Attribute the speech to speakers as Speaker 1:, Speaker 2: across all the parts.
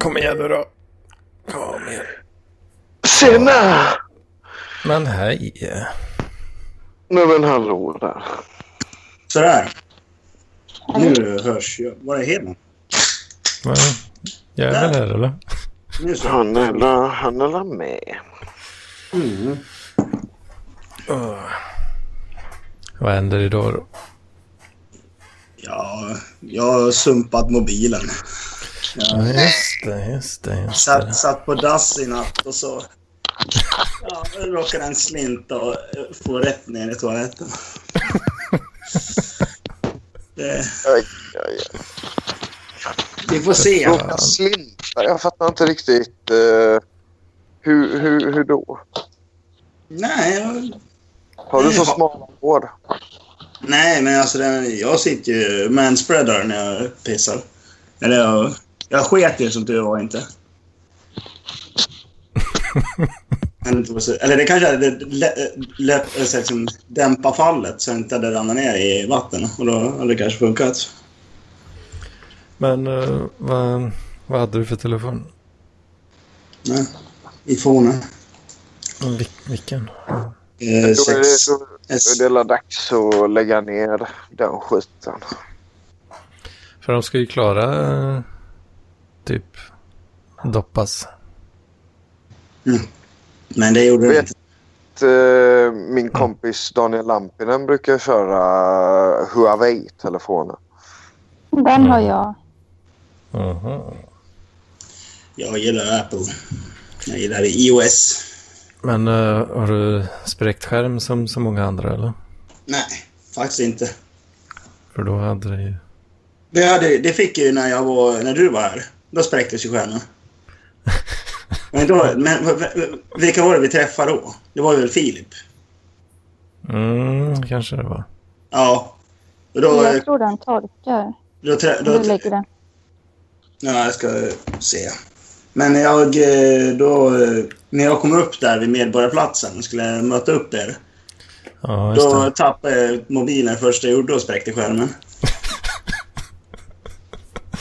Speaker 1: Kom igen nu då. Kom igen.
Speaker 2: Tjena!
Speaker 1: Men hej.
Speaker 2: Nej men hallå där.
Speaker 3: Sådär. Nu hörs jag. Var är Hedman?
Speaker 1: Vad- Jag är väl här eller?
Speaker 3: Nu så.
Speaker 2: Han är la, han är la med.
Speaker 1: Vad händer idag då?
Speaker 3: Ja, jag har sumpat mobilen.
Speaker 1: Ja, just det, just det, just det.
Speaker 3: Satt, satt på dass i natt och så ja, råkade den slinta och eh, få rätt ner i toaletten. Det,
Speaker 2: Aj, aj, aj.
Speaker 3: vi får se.
Speaker 2: Råkar slinta. Jag fattar inte riktigt. eh, hur, hur, hur då?
Speaker 3: Nej, jag-
Speaker 2: Har du så smala hår?
Speaker 3: nej men alltså den, jag sitter ju med en spreader när jag pissar. Eller jag, jag sket ju som tur var inte. Eller det var så- eller det kanske hade lä- lä- alltså liksom dämpa fallet så jag inte hade ramlat ner i vatten. Och då hade det kanske funkat.
Speaker 1: Men eh, vad, vad hade du för telefon?
Speaker 3: Nej. Iphone.
Speaker 1: Vil, vilken?
Speaker 3: Eh,
Speaker 2: Då är
Speaker 3: sex.
Speaker 2: det, då, då är
Speaker 3: S.
Speaker 2: det la dags att lägga ner den skiten.
Speaker 1: För de ska ju klara eh, typ doppas.
Speaker 3: Men det gjorde det
Speaker 2: Vet-
Speaker 3: inte.
Speaker 2: Eh, Min kompis Daniel Lampinen brukar köra Huawei-telefoner.
Speaker 4: Den har jag.
Speaker 1: Aha.
Speaker 3: Jag gillar Apple. Jag gillar iOS.
Speaker 1: Men eh, har du spräckt skärm som så många andra eller?
Speaker 3: Nej, faktiskt inte.
Speaker 1: För då hade det ju...
Speaker 3: Det, hade, det fick jag ju när, jag var, när du var här. Då spräcktes ju stjärnan. Men, då, men v- v- vilka var det vi träffade då? Det var väl Filip?
Speaker 1: Mm, kanske det var.
Speaker 3: Ja. Och Då,
Speaker 4: Jag tror den torkar.
Speaker 3: då, trä, då,
Speaker 4: Nu ligger den.
Speaker 3: Ja, jag ska eh, se. Men jag, eh, då, eh, när jag kom upp där vid Medborgarplatsen och skulle möta upp er,
Speaker 1: Ja, just
Speaker 3: då
Speaker 1: det.
Speaker 3: tappade jag mobilen först jag gjorde och spräckte skärmen.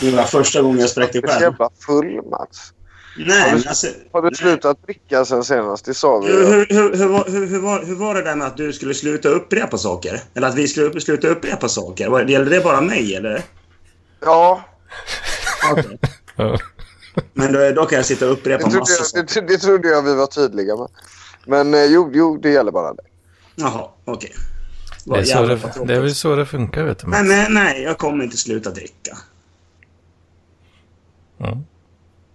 Speaker 3: Det var första gången jag spräckte
Speaker 2: Du är så
Speaker 3: skärmen.
Speaker 2: jävla full Mats.
Speaker 3: Nej, men alltså...
Speaker 2: Har du slutat dricka sen senast? Det sa vi
Speaker 3: Hur,
Speaker 2: ju.
Speaker 3: hur, hur, hur, var- hur, hur, var, hur var det där med att du skulle sluta upprepa saker? Eller att vi skulle upp- sluta upprepa saker? Var- Gällde det bara mig, eller?
Speaker 2: Ja,
Speaker 3: Okej.
Speaker 1: Ja.
Speaker 3: Men då, då kan jag sitta och
Speaker 2: det
Speaker 3: upprepa
Speaker 2: trodde,
Speaker 3: massa
Speaker 2: jag,
Speaker 3: saker.
Speaker 2: det, det trodde jag vi var tydliga med. Men eh, jo, jo, det gäller bara dig.
Speaker 3: Jaha, okej.
Speaker 1: Det är,
Speaker 3: Vad
Speaker 1: så
Speaker 3: jävla
Speaker 1: det,
Speaker 3: tråkigt.
Speaker 1: det är väl så det funkar vet du.
Speaker 3: Nej, nej, nej, jag kommer inte sluta dricka.
Speaker 1: Ja.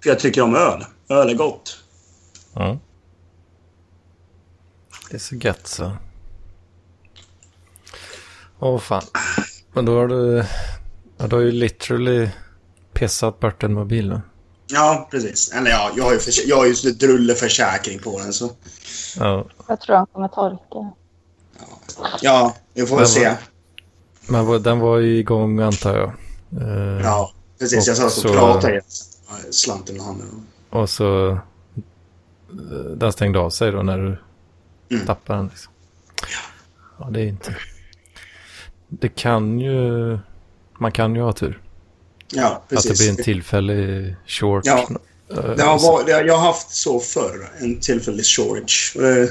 Speaker 3: För jag tycker om öl. Öl är gott.
Speaker 1: Ja. Det är så gött så. Åh fan. Men då har du, ja, du har ju literally pissat bort en mobil då.
Speaker 3: Ja, precis. Eller ja, jag har ju, förs- jag har ju slut- drulleförsäkring på den så...
Speaker 1: Ja.
Speaker 4: Jag tror den kommer torka.
Speaker 3: Ja, vi får
Speaker 1: Men
Speaker 3: väl se.
Speaker 1: vad- Men vad- den var ju igång antar jag. Eh,
Speaker 3: Ja, precis. Jag satt
Speaker 1: Så-
Speaker 3: och pratade i slanten och handen.
Speaker 1: Och så eh, den stängde av sig då när du tappade den. Liksom. Ja, det är inte... Det kan ju... Man kan ju ha tur.
Speaker 3: Ja,
Speaker 1: Att
Speaker 3: precis.
Speaker 1: det blir en tillfällig short.
Speaker 3: Ja.
Speaker 1: Eh,
Speaker 3: Det har varit, det har, jag har haft så förr, en tillfällig shortage. Och det-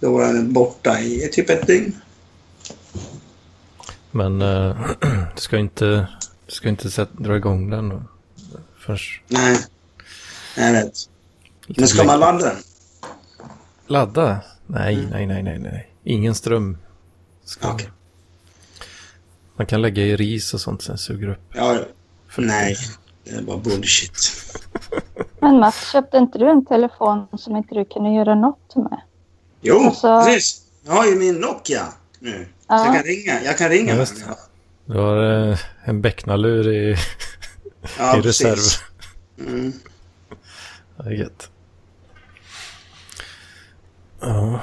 Speaker 3: Då var den borta i typ ett dygn.
Speaker 1: Men eh, du ska inte, du ska inte sätt, dra igång den då. Först
Speaker 3: Nej. Nej, jag vet. Men ska man ladda den?
Speaker 1: ladda? Nej, nej, nej, nej, nej. Ingen ström. Ska...
Speaker 3: Okej.
Speaker 1: Man kan lägga i ris och sånt sen suger upp.
Speaker 3: Ja, nej. Det är bara bullshit.
Speaker 4: Men Mats, köpte inte du en telefon som inte du kunde göra något med?
Speaker 3: Jo,
Speaker 4: Alltså-
Speaker 3: precis. Jag har ju min Nokia nu. Så
Speaker 4: Ja.
Speaker 3: jag kan ringa. Jag kan ringa
Speaker 1: Ja,
Speaker 3: med
Speaker 1: just
Speaker 3: den.
Speaker 1: Du har eh, en becknarlur i,
Speaker 3: Ja,
Speaker 1: i reserv.
Speaker 3: precis. Mm.
Speaker 1: Det är gött. Ja.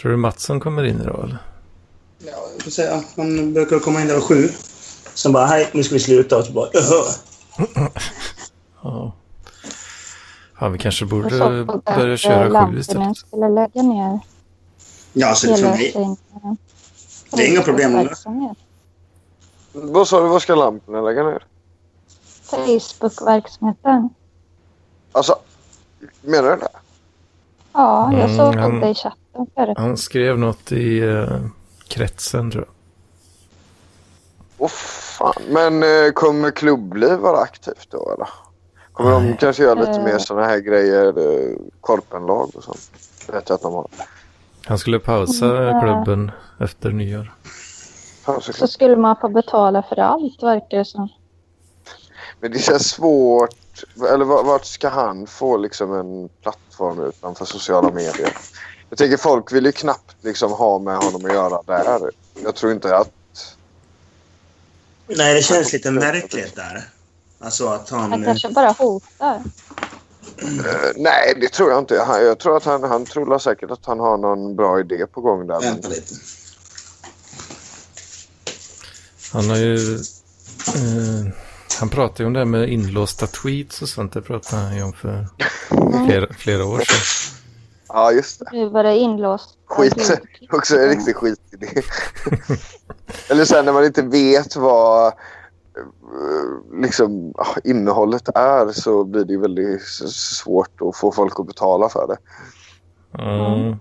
Speaker 1: Tror du Mattsson kommer in idag eller?
Speaker 3: Ja, jag får säga. Han brukar komma in där och sju. Sen bara, hej, nu ska vi sluta. Och så bara, Öhö.
Speaker 1: Ja. Fan, vi kanske
Speaker 4: Jag
Speaker 1: borde
Speaker 4: såg att
Speaker 1: börja
Speaker 4: eh,
Speaker 1: köra sju
Speaker 4: lamporna
Speaker 1: istället.
Speaker 4: skulle lägga ner
Speaker 3: Ja, så liksom det är för
Speaker 4: hela
Speaker 3: mig.
Speaker 4: sin... eh,
Speaker 3: Det är inga problem med det.
Speaker 4: verksamhet.
Speaker 2: Vad sa du, vad ska lamporna lägga ner?
Speaker 4: Facebook-verksamheten.
Speaker 2: Alltså, menar du det?
Speaker 4: Ja, jag
Speaker 1: Mm,
Speaker 4: såg
Speaker 1: han-
Speaker 4: det i chatten förut.
Speaker 1: Han skrev något i eh, kretsen tror jag.
Speaker 2: Åh fan. Men eh, kommer klubbliv vara aktivt då eller? Kommer de
Speaker 1: Nej.
Speaker 2: kanske göra lite
Speaker 4: Eh.
Speaker 2: mer sådana här grejer? Eh, korpenlag och sånt. Det vet jag att de har.
Speaker 1: Han skulle pausa
Speaker 4: Mm.
Speaker 1: klubben efter nyår.
Speaker 2: Fan, så
Speaker 4: Så skulle man få betala för allt verkar det som.
Speaker 2: Men det känns svårt. Eller va- vart ska han få liksom en plattform utanför sociala medier? Jag tänker folk vill ju knappt liksom ha med honom att göra där. Jag tror inte att...
Speaker 3: Nej, det känns lite märkligt där. Alltså att
Speaker 4: Han
Speaker 3: han... eh,
Speaker 4: kanske bara hotar.
Speaker 2: eh, nej, det tror jag inte. Han, jag tror att han, han trollar säkert att han har någon bra idé på gång där. Men
Speaker 3: Vänta lite.
Speaker 1: Han har ju... Eh, han pratade ju om det här med inlåsta tweets och sånt. Det pratade han ju om för
Speaker 4: Mm.
Speaker 1: flera, flera år sedan.
Speaker 2: ja, just det.
Speaker 4: Nu var det inlåst.
Speaker 2: Skit. Också en riktig skitidé. eller sen när man inte vet vad eh, liksom, ah, innehållet är så blir det ju väldigt s- svårt att få folk att betala för det.
Speaker 1: Mm.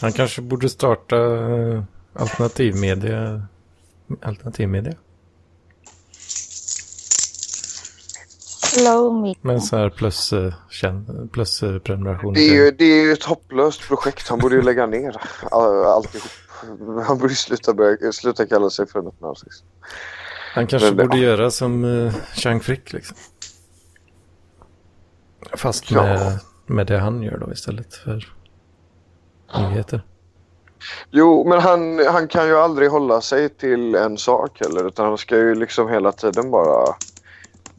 Speaker 1: Han kanske borde starta eh, alternativmedia. Alternativmedia?
Speaker 4: Slow me.
Speaker 1: Med en sån här plus, eh, känn- plus eh, prenumeration.
Speaker 2: Det är, ju, det är ju ett hopplöst projekt. Han borde ju lägga ner all- alltihop. Han borde ju sluta, börja, sluta kalla sig för något nazist.
Speaker 1: Han kanske
Speaker 2: Men det-
Speaker 1: borde göra som eh, Chang Frick liksom. Fast
Speaker 2: Ja.
Speaker 1: med, med det han gör då istället för nyheter.
Speaker 2: Jo, men han, han kan ju aldrig hålla sig till en sak heller. Utan han ska ju liksom hela tiden bara...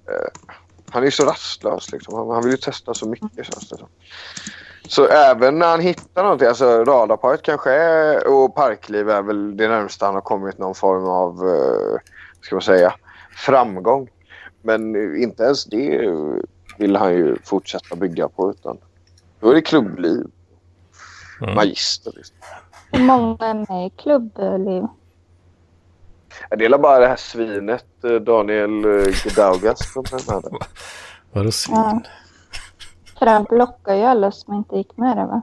Speaker 2: Eh, han är ju så rastlös liksom. Han, han vill ju testa så mycket känns det som. Så även när han hittar någonting, alltså radarparet kanske är, och parkliv är väl det närmsta han har kommit någon form av, eh, ska man säga, framgång. Men eh, inte ens det eh, vill han ju fortsätta bygga på utan då är det klubbliv.
Speaker 1: Mm.
Speaker 2: Magister liksom.
Speaker 4: Hur många är med i klubbliv?
Speaker 2: Jag delar bara det här svinet eh, Daniel eh, Gdaugas som den hade.
Speaker 1: Vadå svin?
Speaker 4: Ja. För han blockade ju alla som inte gick med det va?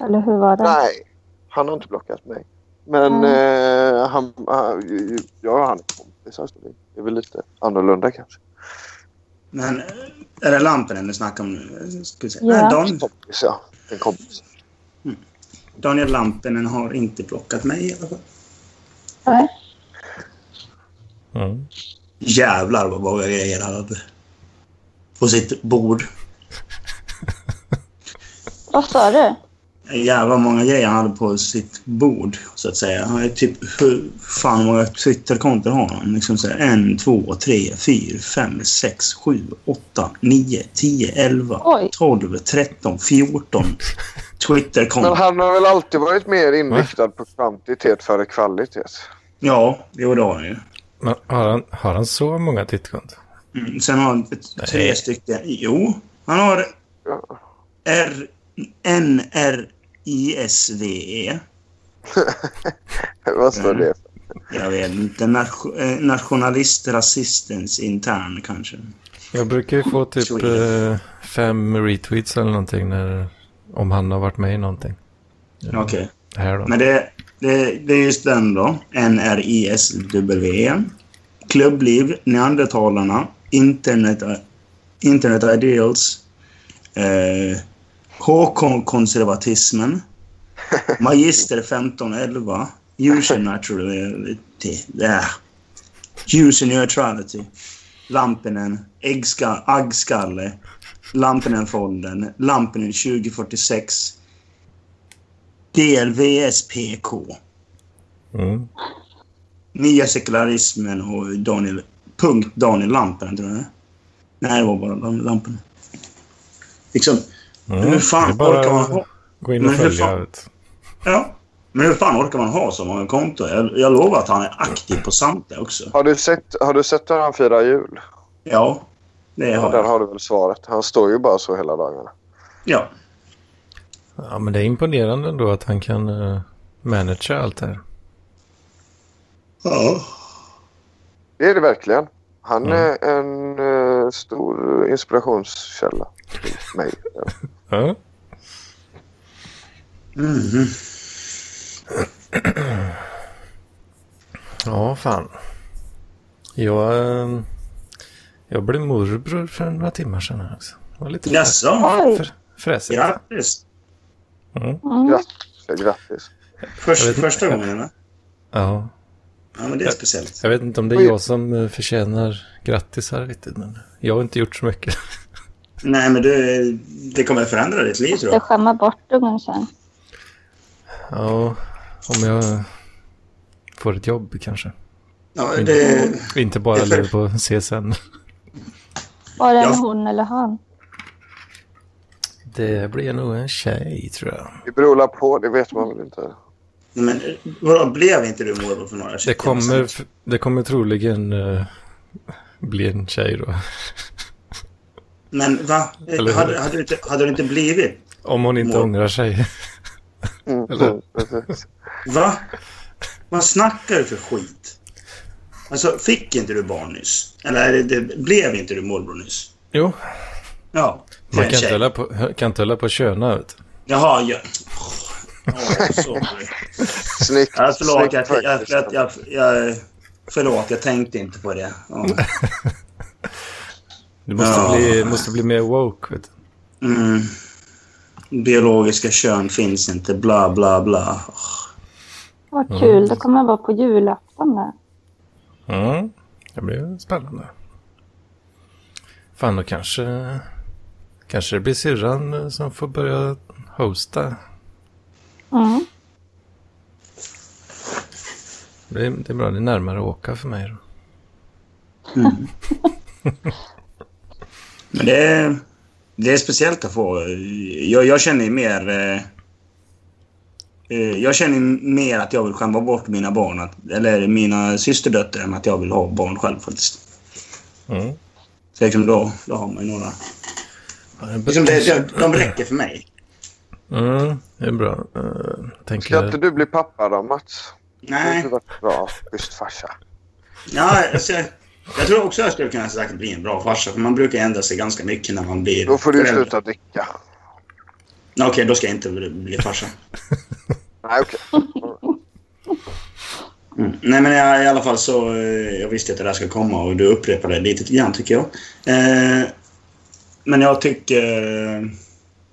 Speaker 4: Eller hur var det?
Speaker 2: Nej, han har inte blockat mig. Men eh, han, han, jag och han är kompisar. så det- Det är väl lite annorlunda kanske.
Speaker 3: Men eh, är det Lampinen du snackar om nu? Ska vi se.
Speaker 4: Ja.
Speaker 3: Nej, Dan,
Speaker 2: Kompis, ja. En kompis.
Speaker 3: Daniel Lampinen har inte plockat mig i alla fall.
Speaker 4: Nej.
Speaker 1: Mm.
Speaker 3: Jävlar vad många grejer han hade. På sitt bord.
Speaker 4: Vad sa du?
Speaker 3: Jävlar vad många grejer han hade på sitt bord, så att säga. Han är typ... Hur fan många Twitterkonton har han? Liksom så här, en, två, tre, fyra, fem, sex, sju, åtta, nio, tio, elva,
Speaker 4: Oj.
Speaker 3: tolv, tretton, fjorton
Speaker 2: Men
Speaker 3: Twitterkonton.
Speaker 2: han har väl alltid varit mer inriktad på kvantitet före kvalitet.
Speaker 3: Ja, jo det har han ju.
Speaker 1: Men har han, har han så många tittkonton?
Speaker 3: Mm, sen har han ett- tre
Speaker 1: Nej.
Speaker 3: stycken. Jo, han har
Speaker 2: Ja.
Speaker 3: R... NRISVE.
Speaker 2: Vad står det för?
Speaker 3: Jag vet inte. Nation, eh, nationalist Rasistens intern kanske.
Speaker 1: Jag brukar ju få typ
Speaker 3: Så är
Speaker 1: eh, fem retweets eller någonting när, om han har varit med i någonting.
Speaker 3: Okej.
Speaker 1: Här då.
Speaker 3: Men det, det, det är just den då. NRISWE. E. Klubbliv, Neandertalarna, Internet, Internet Ideals, eh, HK-konservatismen, Magister 1511, User Naturality, yeah. User Neutrality, Lampinen, Äggska, Aggskalle, Lampinen-fonden, Lampinen 2046, DLVSPK.
Speaker 1: Mm.
Speaker 3: Nya sekularismen och Daniel... Punkt Daniel Lampen, tror jag det är. Nej, det var bara Daniel Lampen. Liksom,
Speaker 1: Mm.
Speaker 3: hur
Speaker 1: Det
Speaker 3: fan
Speaker 1: är bara
Speaker 3: orkar man
Speaker 1: att
Speaker 3: ha...
Speaker 1: gå in och
Speaker 3: Men hur
Speaker 1: följa.
Speaker 3: fan-
Speaker 1: Ut.
Speaker 3: Ja. Men hur fan orkar man ha så många konton? Jag, jag lovar att han är aktiv på samtliga också.
Speaker 2: Har du sett, har du sett hur han firar jul?
Speaker 3: Ja, det har
Speaker 2: Där
Speaker 3: jag.
Speaker 2: har du väl svaret. Han står ju bara så hela dagarna.
Speaker 3: Ja.
Speaker 1: Ja, men det är imponerande ändå att han kan eh, managera allt det här.
Speaker 3: Ja.
Speaker 2: Det är det verkligen. Han
Speaker 1: Mm.
Speaker 2: är en eh, stor inspirationskälla till mig.
Speaker 1: Ja.
Speaker 3: Mhm.
Speaker 1: Ja, fan. Jag, eh, jag blev morbror för några timmar sedan här också. Det var lite
Speaker 3: Jaså?
Speaker 4: Oj.
Speaker 1: fr- fräsigt.
Speaker 3: Grattis.
Speaker 1: Mm.
Speaker 4: Mm.
Speaker 2: Grattis, grattis.
Speaker 1: Jag vet
Speaker 3: Först,
Speaker 1: inte.
Speaker 3: första gången, eller?
Speaker 1: Ja.
Speaker 3: Ja, men det är speciellt.
Speaker 1: Jag vet inte om det är jag som eh, förtjänar grattis här riktigt, men jag har inte gjort så mycket.
Speaker 3: Nej, men du, det kommer att förändra ditt liv, tror
Speaker 4: Du
Speaker 3: jag.
Speaker 4: skämmer bort ungen sen.
Speaker 1: Ja, om jag får ett jobb kanske.
Speaker 3: Ja, det,
Speaker 1: Inte bara
Speaker 3: Det är för-
Speaker 1: lever på CSN.
Speaker 4: Var det en
Speaker 3: Ja.
Speaker 4: hon eller han?
Speaker 1: Det blir nog en tjej, tror jag.
Speaker 2: Det beror la på, det vet man väl inte.
Speaker 3: nej, men vadå, blev inte du morbror för några
Speaker 1: Det
Speaker 3: tjejer?
Speaker 1: kommer, det kommer troligen eh, bli en tjej då.
Speaker 3: Men va?
Speaker 1: Eller hur?
Speaker 3: Hade, hade, du inte, hade du inte blivit?
Speaker 1: Om hon inte
Speaker 3: Må-
Speaker 1: ångrar sig.
Speaker 2: Mm,
Speaker 1: Eller-
Speaker 2: mm, precis.
Speaker 3: Va? Vad snackar du för skit? Alltså, fick inte du barn nyss? Eller är det, det, blev inte du morbror nyss?
Speaker 1: Jo,
Speaker 3: Ja. det är
Speaker 1: man kan
Speaker 3: en
Speaker 1: inte,
Speaker 3: tjej.
Speaker 1: hålla på, kan inte hålla på och köna. Vet. du.
Speaker 3: Jaha, ja. Oh, sorry.
Speaker 2: Snyggt.
Speaker 3: Ja, förlåt, jag,
Speaker 2: snyggt
Speaker 3: jag, jag,
Speaker 2: faktiskt.
Speaker 3: jag, jag, jag, förlåt, jag tänkte inte på det. Ja.
Speaker 1: Du måste,
Speaker 3: Ja.
Speaker 1: bli, måste bli mer woke. Vet. du.
Speaker 3: Mm. Biologiska kön finns inte, bla, bla, bla.
Speaker 4: Vad kul, det kommer vara på julafton där.
Speaker 1: Mm. Det blir spännande. Fan, då kanske, kanske det blir syrran eh, som får börja hosta.
Speaker 4: Mm.
Speaker 1: Det är, det är bra, det är närmare att åka för mig. Då.
Speaker 3: Men det är, det är speciellt att få. Jag, jag känner ju mer... eh, eh, Jag känner ju mer att jag vill skämma bort mina barn, att, eller mina systerdöttrar, än att jag vill ha barn själv faktiskt.
Speaker 1: Mm.
Speaker 3: Så liksom då, då har man ju några...
Speaker 1: Ja, det är bra.
Speaker 3: Liksom det, det, de räcker för mig.
Speaker 1: Mm, det är bra. Eh,
Speaker 2: Ska
Speaker 1: tänker...
Speaker 2: inte du bli pappa då, Mats? Det har
Speaker 3: Nej.
Speaker 2: inte varit bra. Schysst farsa.
Speaker 3: Ja, alltså, jag tror också jag skulle kunna sagt bli en bra farsa, för man brukar ändra sig ganska mycket när man blir
Speaker 2: Då får du ju
Speaker 3: förälder.
Speaker 2: sluta dricka.
Speaker 3: Nej, Okej, då ska jag inte bli- bli farsa.
Speaker 2: Nej, okej.
Speaker 3: Mm. Nej, men jag, i alla fall så... eh, Jag visste att det där skulle komma och du upprepade det lite grann, tycker jag. Eh, men jag tycker...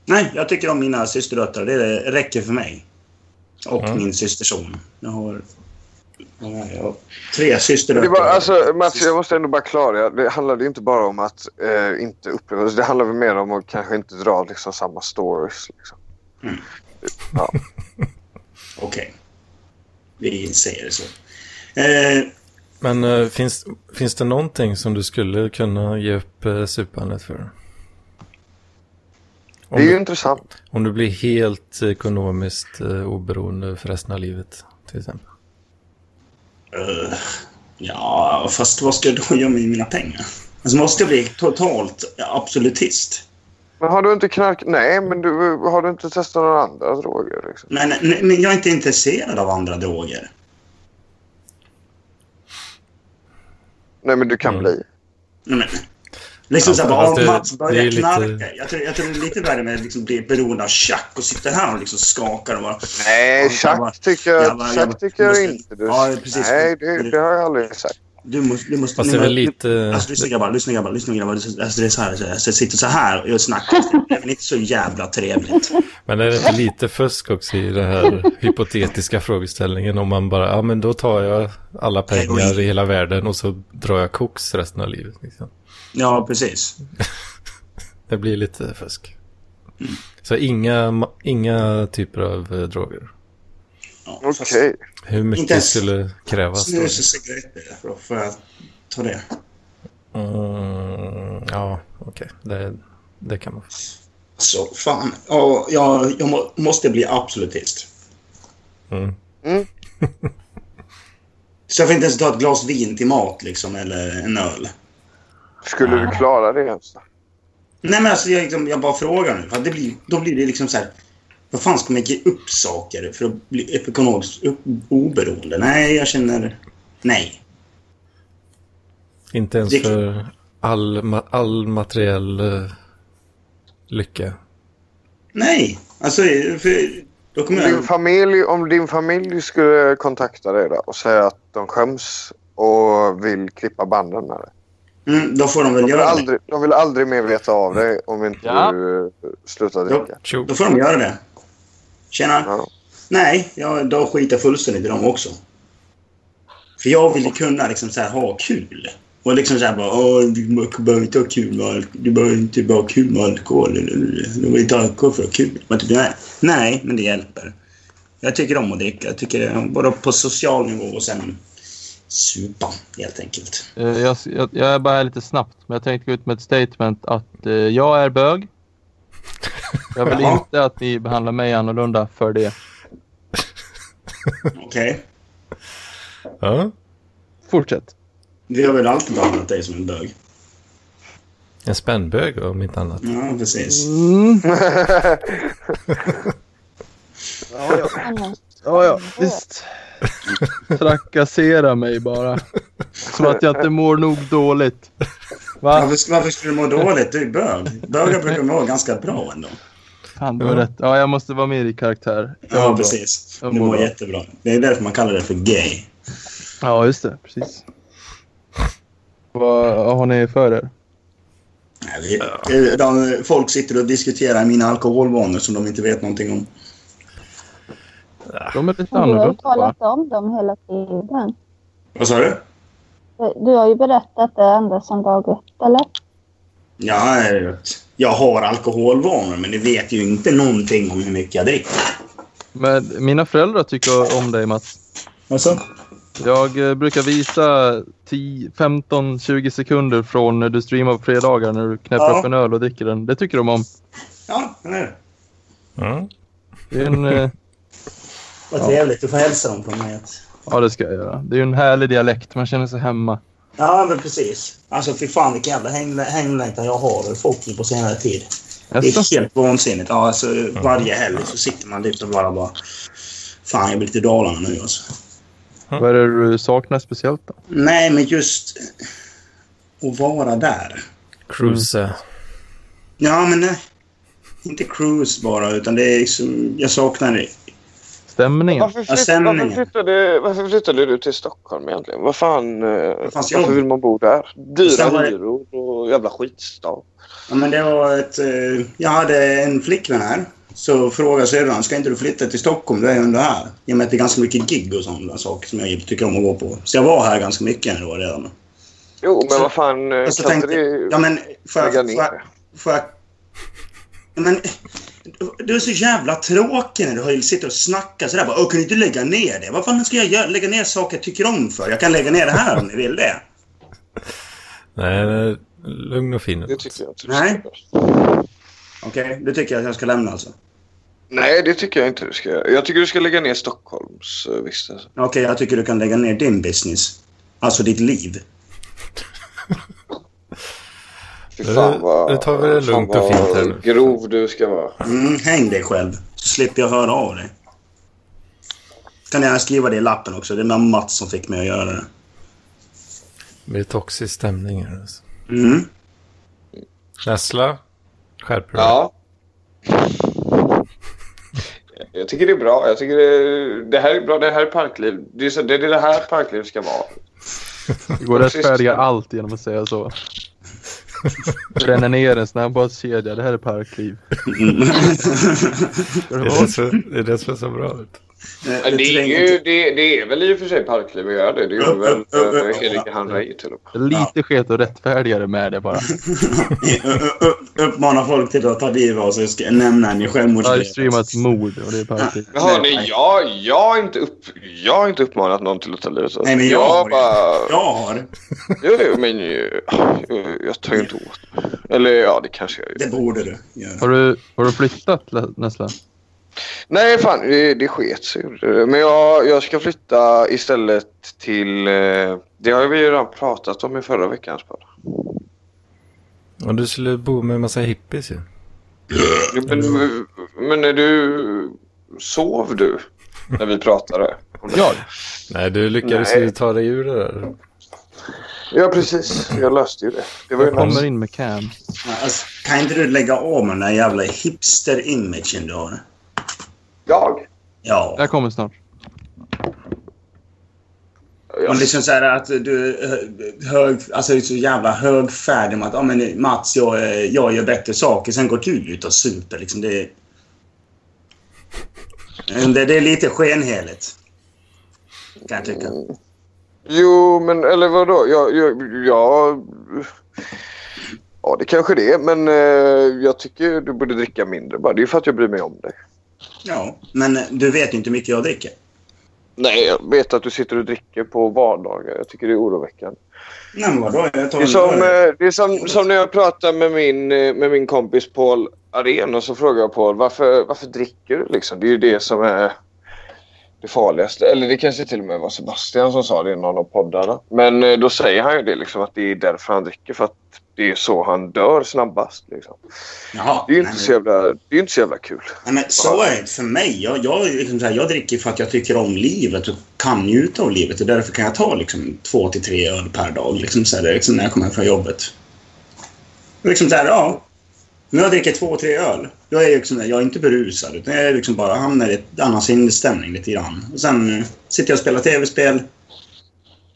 Speaker 3: Nej, jag tycker om mina systerdöttrar. Det räcker för mig. Och
Speaker 1: Mm.
Speaker 3: min systerson. Jag har... Jag har tre
Speaker 2: Men
Speaker 3: systerdöttrar.
Speaker 2: Det var, alltså, Mats, jag måste ändå bara klara. Det handlade ju inte bara om att eh, inte uppleva. Det handlade väl mer om att kanske inte dra liksom, samma stories. Liksom.
Speaker 3: Okej. Vi säger det så. Eh,
Speaker 1: Men eh, finns, finns det någonting som du skulle kunna ge upp uh, supandet för?
Speaker 2: Det
Speaker 1: Om,
Speaker 2: är ju
Speaker 1: du,
Speaker 2: intressant.
Speaker 1: om du blir helt ekonomiskt eh, oberoende för resten av livet, till exempel.
Speaker 3: Eh, ja, fast vad ska jag då göra med mina pengar? Alltså måste jag bli totalt absolutist?
Speaker 2: Men har du inte knark... Nej, men du, har du inte testat några andra droger? Liksom?
Speaker 3: Nej, nej, nej, men jag är inte intresserad av andra droger.
Speaker 2: Nej, men du kan
Speaker 1: Mm.
Speaker 2: bli.
Speaker 3: Nej, men, liksom
Speaker 1: Ja,
Speaker 3: så här, bara,
Speaker 1: fast det-
Speaker 3: om Mats
Speaker 1: Alltså, det är ju
Speaker 3: börjar
Speaker 1: lite-
Speaker 3: knarka. Jag, tror, jag tror det är lite värre med att liksom bli beroende av tjack och sitta här och liksom skakar och bara...
Speaker 2: Nej,
Speaker 3: Och så bara,
Speaker 2: Chuck tycker jag,
Speaker 3: jag bara- jag
Speaker 2: Chuck
Speaker 3: bara-
Speaker 2: tycker jag
Speaker 3: måste-
Speaker 2: inte du...
Speaker 3: Ja, precis.
Speaker 2: Nej, det, det har jag aldrig sagt.
Speaker 3: Du måste... Du måste
Speaker 1: Fast det
Speaker 3: nej,
Speaker 1: är
Speaker 3: men-
Speaker 1: väl lite...
Speaker 3: Alltså lyssna grabbar, lyssna grabbar, lyssna grabbar. Alltså, det är så här, så här, så jag sitter så här och jag snackar. Det är väl inte så jävla trevligt.
Speaker 1: Men är det inte lite fusk också i den här hypotetiska frågeställningen? Om man bara, ja men då tar jag alla pengar i hela världen och så drar jag koks resten av livet. Liksom.
Speaker 3: Ja, precis.
Speaker 1: Det blir lite fusk. Så inga, ma- inga typer av eh, droger.
Speaker 3: Ja, fast-
Speaker 2: Okej.
Speaker 1: Hur mycket
Speaker 3: Inte ens-
Speaker 1: skulle krävas? Då?
Speaker 3: Snus och cigaretter, då får jag ta det.
Speaker 1: Mm, ja, okej. Det, det kan man.
Speaker 3: Så fan, ja, jag, jag må, måste bli absolutist.
Speaker 1: Mm.
Speaker 2: Mm.
Speaker 3: Så jag får inte ens ta ett glas vin till mat liksom, eller en öl.
Speaker 2: Skulle du klara det alltså? ens? då?
Speaker 3: Nej men alltså jag, liksom, jag bara frågar nu. För att det blir, då blir det liksom så här. Vad fan ska man ge upp saker för att bli ekonomiskt upp- oberoende? Nej, jag känner... Nej.
Speaker 1: Inte ens
Speaker 3: Det-
Speaker 1: för all, ma- all materiell eh, lycka.
Speaker 3: Nej. Alltså, för då kommer
Speaker 2: Din
Speaker 3: jag...
Speaker 2: familj, om din familj skulle kontakta dig då och säga att de skäms och vill klippa banden med dig.
Speaker 3: Mm, då får de
Speaker 2: De
Speaker 3: väl
Speaker 2: vill
Speaker 3: göra det.
Speaker 2: aldrig, de vill aldrig mer veta av dig om inte
Speaker 5: Ja.
Speaker 2: du eh, slutar
Speaker 3: Ja.
Speaker 2: dricka.
Speaker 1: Tjo.
Speaker 3: Då får de göra det. Tjena.
Speaker 2: Ja.
Speaker 3: Nej, jag, då skiter jag fullständigt i dem också. För jag vill ju kunna liksom så här, ha kul. Och liksom så här bara Åh, du behöver inte ha kul med alkohol. Du behöver inte bara ha kul med alkohol. eller- eller- Du behöver inte ha alkohol för att ha kul. Men typ, nej, nej, men det hjälper. Jag tycker om att dricka. Jag tycker eh, både på social nivå och sen supa, helt enkelt.
Speaker 5: Eh, Jag, jag, jag är bara här lite snabbt, men jag tänkte gå ut med ett statement att eh, jag är bög. Jag vill
Speaker 3: Jaha.
Speaker 5: inte att ni behandlar mig annorlunda för det.
Speaker 3: Okej.
Speaker 1: Ja.
Speaker 5: Fortsätt.
Speaker 3: Vi har väl alltid behandlat dig som en bög.
Speaker 1: En spännbög om inte annat.
Speaker 3: Ja, precis.
Speaker 5: Mm. ja, ja.
Speaker 4: Annars-
Speaker 5: Ja, ja, visst. Trakassera mig bara. Som att jag inte mår nog dåligt. Va?
Speaker 3: Varför, varför skulle du må dåligt? Du är bög. Bögar brukar må ganska bra ändå.
Speaker 5: Fan, du har rätt. Ja, jag måste vara mer i karaktär. Jag mår
Speaker 3: Ja,
Speaker 5: bra.
Speaker 3: precis.
Speaker 5: Jag
Speaker 3: Du
Speaker 5: mår
Speaker 3: mår
Speaker 5: bra.
Speaker 3: jättebra. Det är därför man kallar det för gay.
Speaker 5: Ja, just det. Precis. Vad har ni för er?
Speaker 3: Nej, vi- de, folk sitter och diskuterar mina alkoholvanor som de inte vet någonting om.
Speaker 5: De är lite
Speaker 4: Men Du har ju
Speaker 5: annorlunda. va?
Speaker 4: talat om dem hela tiden.
Speaker 3: Vad sa du?
Speaker 4: Du har ju berättat det ända sedan dag ett, eller?
Speaker 3: Ja, jag vet. jag har alkoholvanor, men det vet ju inte någonting om hur mycket jag dricker.
Speaker 5: Men mina föräldrar tycker om dig, Mats.
Speaker 3: Alltså?
Speaker 5: Jag eh, brukar visa 10, 15, 20 sekunder från när du streamar på fredagar när du knäpper
Speaker 3: Ja.
Speaker 5: upp en öl och dricker den. Det tycker de om.
Speaker 3: Ja, eller hur?
Speaker 1: Mm.
Speaker 5: Det är en, eh,
Speaker 3: Vad trevligt. Du får hälsa dem från mig.
Speaker 5: ja, det ska jag göra. Det är ju en härlig dialekt. Man känner sig hemma.
Speaker 3: Ja, men precis. Alltså, fy fan vilken jävla häng- hänglängtan jag har över folk på senare tid. Det
Speaker 5: Jaså?
Speaker 3: är helt vansinnigt. Ja, alltså, varje helg så sitter man lite och bara, bara... Fan, jag blir lite Dalarna nu alltså.
Speaker 5: Vad är det du saknar speciellt då?
Speaker 3: Nej, men just att vara där.
Speaker 1: Cruise.
Speaker 3: Ja, men nej. Inte cruise bara, utan det är liksom, jag saknar det.
Speaker 5: Stämningen?
Speaker 2: Varför,
Speaker 3: Ja,
Speaker 2: flytt,
Speaker 3: stämningen.
Speaker 2: varför, flyttade, varför flyttade du till Stockholm egentligen? Vad fan, eh,
Speaker 3: fanns
Speaker 2: varför
Speaker 3: jobb.
Speaker 2: vill man bo där?
Speaker 3: Sen var
Speaker 2: Dyra
Speaker 3: det-
Speaker 2: hyror och jävla skitstad.
Speaker 3: Ja, men det var ett... eh, jag hade en flickvän här. Så frågade syrran, ska inte du flytta till Stockholm? Du är ju ändå här. I och med att det är ganska mycket gig och sådana saker som jag tycker om att gå på. Så jag var här ganska mycket ändå redan.
Speaker 2: Jo, men
Speaker 3: Så-
Speaker 2: vad fan, eh,
Speaker 3: Och så
Speaker 2: kan inte
Speaker 3: tänkte
Speaker 2: det...
Speaker 3: jag, ja men får jag,
Speaker 2: lägga
Speaker 3: får
Speaker 2: ner
Speaker 3: jag, får jag Ja, men, du är så jävla tråkig när du sitter och snackar sådär. Bara, "Åh, kan du inte lägga ner det? Vad fan ska jag göra? lägga ner saker jag tycker om för? Jag kan lägga ner det här om ni vill det.
Speaker 1: Nej, nej, lugn och fin.
Speaker 2: Det tycker jag inte.
Speaker 3: Nej.
Speaker 2: Du ska göra.
Speaker 3: Okej, du tycker jag att jag ska lämna alltså?
Speaker 2: Nej, det tycker jag inte du ska göra. Jag tycker du ska lägga ner Stockholms eh, vistelse.
Speaker 3: Okej, jag tycker du kan lägga ner din business. Alltså ditt liv.
Speaker 2: Fy
Speaker 1: Nu-
Speaker 2: fan vad...
Speaker 1: nu tar vi det
Speaker 2: fan
Speaker 1: lugnt och
Speaker 2: vad
Speaker 1: fint här nu.
Speaker 2: grov du ska vara.
Speaker 3: Mm, häng dig själv. Så slipper jag höra av dig. Kan jag skriva det i lappen också? Det var Mats som fick mig att göra det.
Speaker 1: Det blir toxisk stämning här. Alltså.
Speaker 3: Mm.
Speaker 1: Nässla, skärp dig.
Speaker 2: Ja. Jag tycker det är bra. Jag tycker det, det här är bra. Det här är parkliv. Det är, så, det, är det här parkliv ska vara.
Speaker 5: Det går att rättfärdiga allt genom att säga så. Bränna ner en snabbmatskedja. Det här är parkliv.
Speaker 1: Det är det som- det är det som är så bra. Ut.
Speaker 3: Eh,
Speaker 2: Det är,
Speaker 3: tränger
Speaker 2: ju,
Speaker 3: inte-
Speaker 2: det, det är väl i och för sig parkliv att göra det. Det gjorde väl eh, Henrik Hanrej till och med.
Speaker 5: Lite sket och rättfärdigare med det bara.
Speaker 3: Ö- ö- Uppmana folk till att ta livet av sig. Ska jag nämna en i självmordsgrejen.
Speaker 5: Livestreamat mord och det är parkliv.
Speaker 2: Men hörni,
Speaker 3: Nej.
Speaker 2: jag, jag, har inte upp, jag har inte uppmanat någon till att ta livet av sig.
Speaker 3: Nej, men jag har
Speaker 2: jag
Speaker 3: det.
Speaker 2: bara...
Speaker 3: Jag har.
Speaker 2: Jo, jo, men eh, jag, jag tar ju inte åt Eller ja, det kanske jag gör.
Speaker 3: Det borde du göra.
Speaker 5: Har du, har du flyttat Lä- Nässla?
Speaker 2: Nej, fan, det, det sket sig. gjorde det. Men jag, jag ska flytta istället till... eh, Det har vi ju redan pratat om i förra veckans podd.
Speaker 1: Och du skulle bo med en massa hippies ju.
Speaker 2: Jo, Men, men när du... Sov du? när vi pratade. om det.
Speaker 5: Ja,
Speaker 1: Nej, du lyckades
Speaker 2: Nej.
Speaker 1: ju ta dig ur det där.
Speaker 2: ja, precis. Jag löste ju det. Det var ju
Speaker 5: jag
Speaker 2: nice.
Speaker 5: kommer in med cam.
Speaker 3: Ja, Alltså, kan inte du lägga av med den där jävla hipster-imagen du har?
Speaker 2: Jag?
Speaker 3: Ja.
Speaker 5: Jag kommer snart.
Speaker 3: Och
Speaker 2: Ja.
Speaker 3: liksom så här att du eh, hög, alltså det är så jävla högfärdig med att ah, men Mats, jag, eh, jag gör bättre saker. Sen går du ut och super. Liksom det, är- Eh, det, det är lite skenheligt. Kan jag tycka.
Speaker 2: Jo, men eller vadå? Jag, jag, jag... Ja, det kanske det är. Men eh, jag tycker du borde dricka mindre bara. Det är ju för att jag bryr mig om dig.
Speaker 3: Ja, men eh, du vet ju inte hur mycket jag dricker.
Speaker 2: Nej, jag vet att du sitter och dricker på vardagar. Jag tycker det är oroväckande.
Speaker 3: Nej, men vadå? Jag
Speaker 2: Det
Speaker 3: tar
Speaker 2: är
Speaker 3: en
Speaker 2: som,
Speaker 3: öl.
Speaker 2: eh, det är som, som när jag pratar med min, eh, med min kompis Paul Arén och så frågar jag Paul varför, varför dricker du liksom? Det är ju det som är det farligaste. Eller det kanske till och med var Sebastian som sa det i någon av poddarna. Men eh, då säger han ju det liksom att det är därför han dricker för att det är så han dör snabbast. Liksom.
Speaker 3: Jaha,
Speaker 2: Det är ju
Speaker 3: nej,
Speaker 2: inte
Speaker 3: men-
Speaker 2: så jävla, det är ju inte så jävla kul.
Speaker 3: Nej, men så är det inte för mig. Jag, jag, är liksom så här, jag dricker för att jag tycker om livet och kan njuta av livet. Och därför kan jag ta liksom, två till tre öl per dag liksom, så här, det är liksom, när jag kommer hem från jobbet. Och Liksom så här, ja. När jag dricker två, tre öl, då är jag, liksom, jag är inte berusad. Utan jag är liksom bara hamnar i ett annan sinnesstämning lite grann. Och sen eh, sitter jag och spelar tv-spel.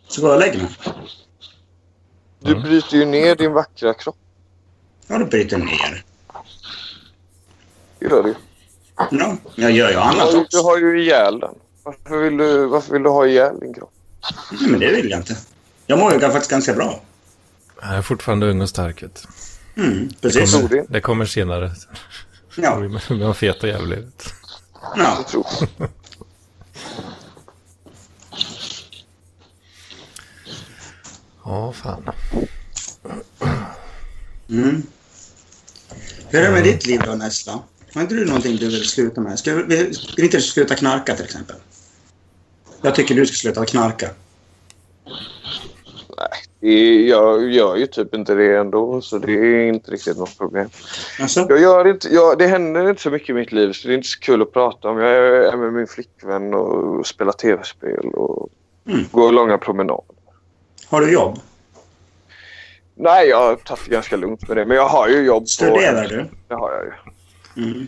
Speaker 3: Så går jag och lägger mig.
Speaker 2: Du bryter ju ner din vackra kropp.
Speaker 3: Ja, då bryter jag ner.
Speaker 2: Det gör du ju.
Speaker 3: Ja, jag gör ju annat
Speaker 2: Du- Du
Speaker 3: också.
Speaker 2: har ju ihjäl den. Varför vill du, varför vill du ha ihjäl din kropp?
Speaker 3: Nej, men det vill jag inte. Jag mår ju faktiskt ganska bra.
Speaker 1: Jag är fortfarande ung och stark. Vet. du.
Speaker 3: Mm,
Speaker 2: Jag
Speaker 3: precis.
Speaker 2: tror det inte.
Speaker 1: Det kommer senare.
Speaker 3: Ja,
Speaker 1: Men jag fet och jävlig. vet du.
Speaker 3: ja.
Speaker 2: Jag tror.
Speaker 1: Ja, fan.
Speaker 3: Mm. Hur är det med ditt liv då, Nessla? Har inte du någonting du vill sluta med? Ska, vi, ska inte du sluta knarka till exempel? Jag tycker du ska sluta knarka.
Speaker 2: Det- Jag gör ju typ inte det ändå, så det är inte riktigt något problem.
Speaker 3: Alltså?
Speaker 2: Jag gör inte, jag, det händer inte så mycket i mitt liv, så det är inte så kul att prata om. Jag är med min flickvän och spelar tv-spel och
Speaker 3: Mm.
Speaker 2: går långa promenader.
Speaker 3: Har du jobb?
Speaker 2: Nej, jag har tagit det ganska lugnt med det, men jag har ju jobb. på-
Speaker 3: Studerar du?
Speaker 2: Det har jag ju.
Speaker 3: Mm.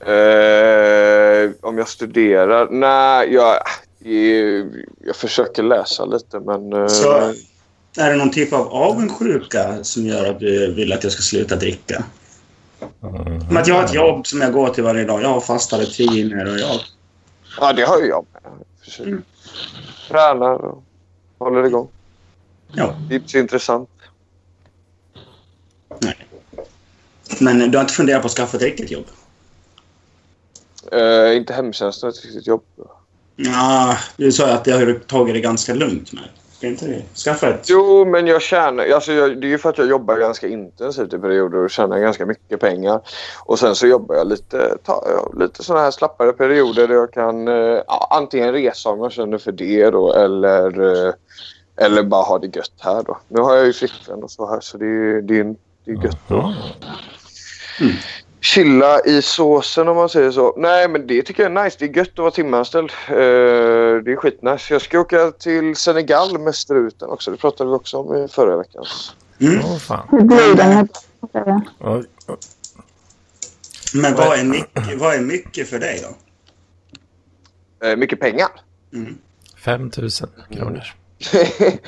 Speaker 2: Eh, om jag studerar? Nej, jag, jag, jag försöker läsa lite, men... eh,
Speaker 3: Så är det någon typ av avundsjuka som gör att du vill att jag ska sluta dricka?
Speaker 2: Mm.
Speaker 3: Men att jag har ett jobb som jag går till varje dag. Jag har fasta rutiner och jag...
Speaker 2: Ja, det har ju jag med. Försöker.
Speaker 3: Mm.
Speaker 2: Tränar och håller igång.
Speaker 3: Ja.
Speaker 2: Det är inte så intressant.
Speaker 3: Men du har inte funderat på att skaffa ett riktigt jobb?
Speaker 2: Eh, inte hemtjänsten är ett riktigt jobb.
Speaker 3: Ja, du sa ju att det har du tagit det ganska lugnt med. Ska inte du skaffa ett...
Speaker 2: Jo, men jag tjänar... Alltså jag, det är ju för att jag jobbar ganska intensivt i perioder och tjänar ganska mycket pengar. Och sen så jobbar jag lite, ta, ja, lite sådana här slappare perioder där jag kan eh, ja, antingen resa om jag känner för det då eller, eh, eller bara ha det gött här då. Nu har jag ju flickvän och så här så det är ju det är, en- det är gött då.
Speaker 1: Ja.
Speaker 2: chilla i såsen om man säger så. Nej men det tycker jag är nice. Det är gött att vara timanställd. Eh, det är skitnice. Jag ska åka till Senegal med struten också. Det pratade vi också om i förra veckan.
Speaker 3: Mm.
Speaker 1: Åh, fan.
Speaker 4: Hur blir det med det?
Speaker 1: Oj.
Speaker 3: Men vad är, mycket, vad är mycket för dig då?
Speaker 2: Eh, mycket pengar.
Speaker 3: Mm.
Speaker 1: 5 000 kronor.
Speaker 2: Nej,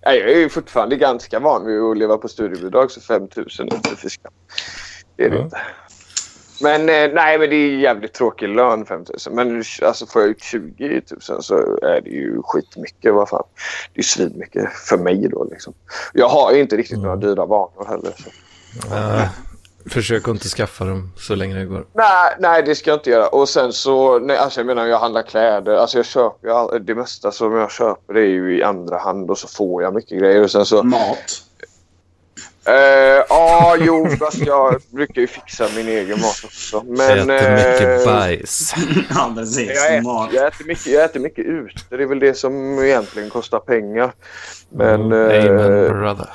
Speaker 2: jag är ju fortfarande ganska van vid att leva på studiebidrag så 5 000 är inte för skam. Det är det
Speaker 1: Ja.
Speaker 2: inte. Men eh, nej, men det är jävligt tråkig lön 5 000. Men alltså, får jag ut 20 000 så är det ju skitmycket. Vad fan. Det är svinmycket för mig då liksom. Jag har ju inte riktigt några dyra vanor heller. Så.
Speaker 1: Äh, försök att inte skaffa dem så länge det går.
Speaker 2: Nej, nej, det ska jag inte göra. Och sen så, nej, alltså jag menar jag handlar kläder. Alltså jag köper ju all, det mesta som jag köper det är ju i andra hand och så får jag mycket grejer. Och sen så,
Speaker 3: Mat.
Speaker 2: Eh, Ja, jo, fast jag brukar ju fixa min egen mat också. Men,
Speaker 1: Äter mycket
Speaker 2: eh,
Speaker 1: bajs.
Speaker 3: Ja, precis.
Speaker 2: jag,
Speaker 3: Mat.
Speaker 2: äter, jag, äter mycket, jag äter mycket ute. Det är väl det som egentligen kostar pengar. Men
Speaker 1: Amen,
Speaker 2: eh,
Speaker 1: brother.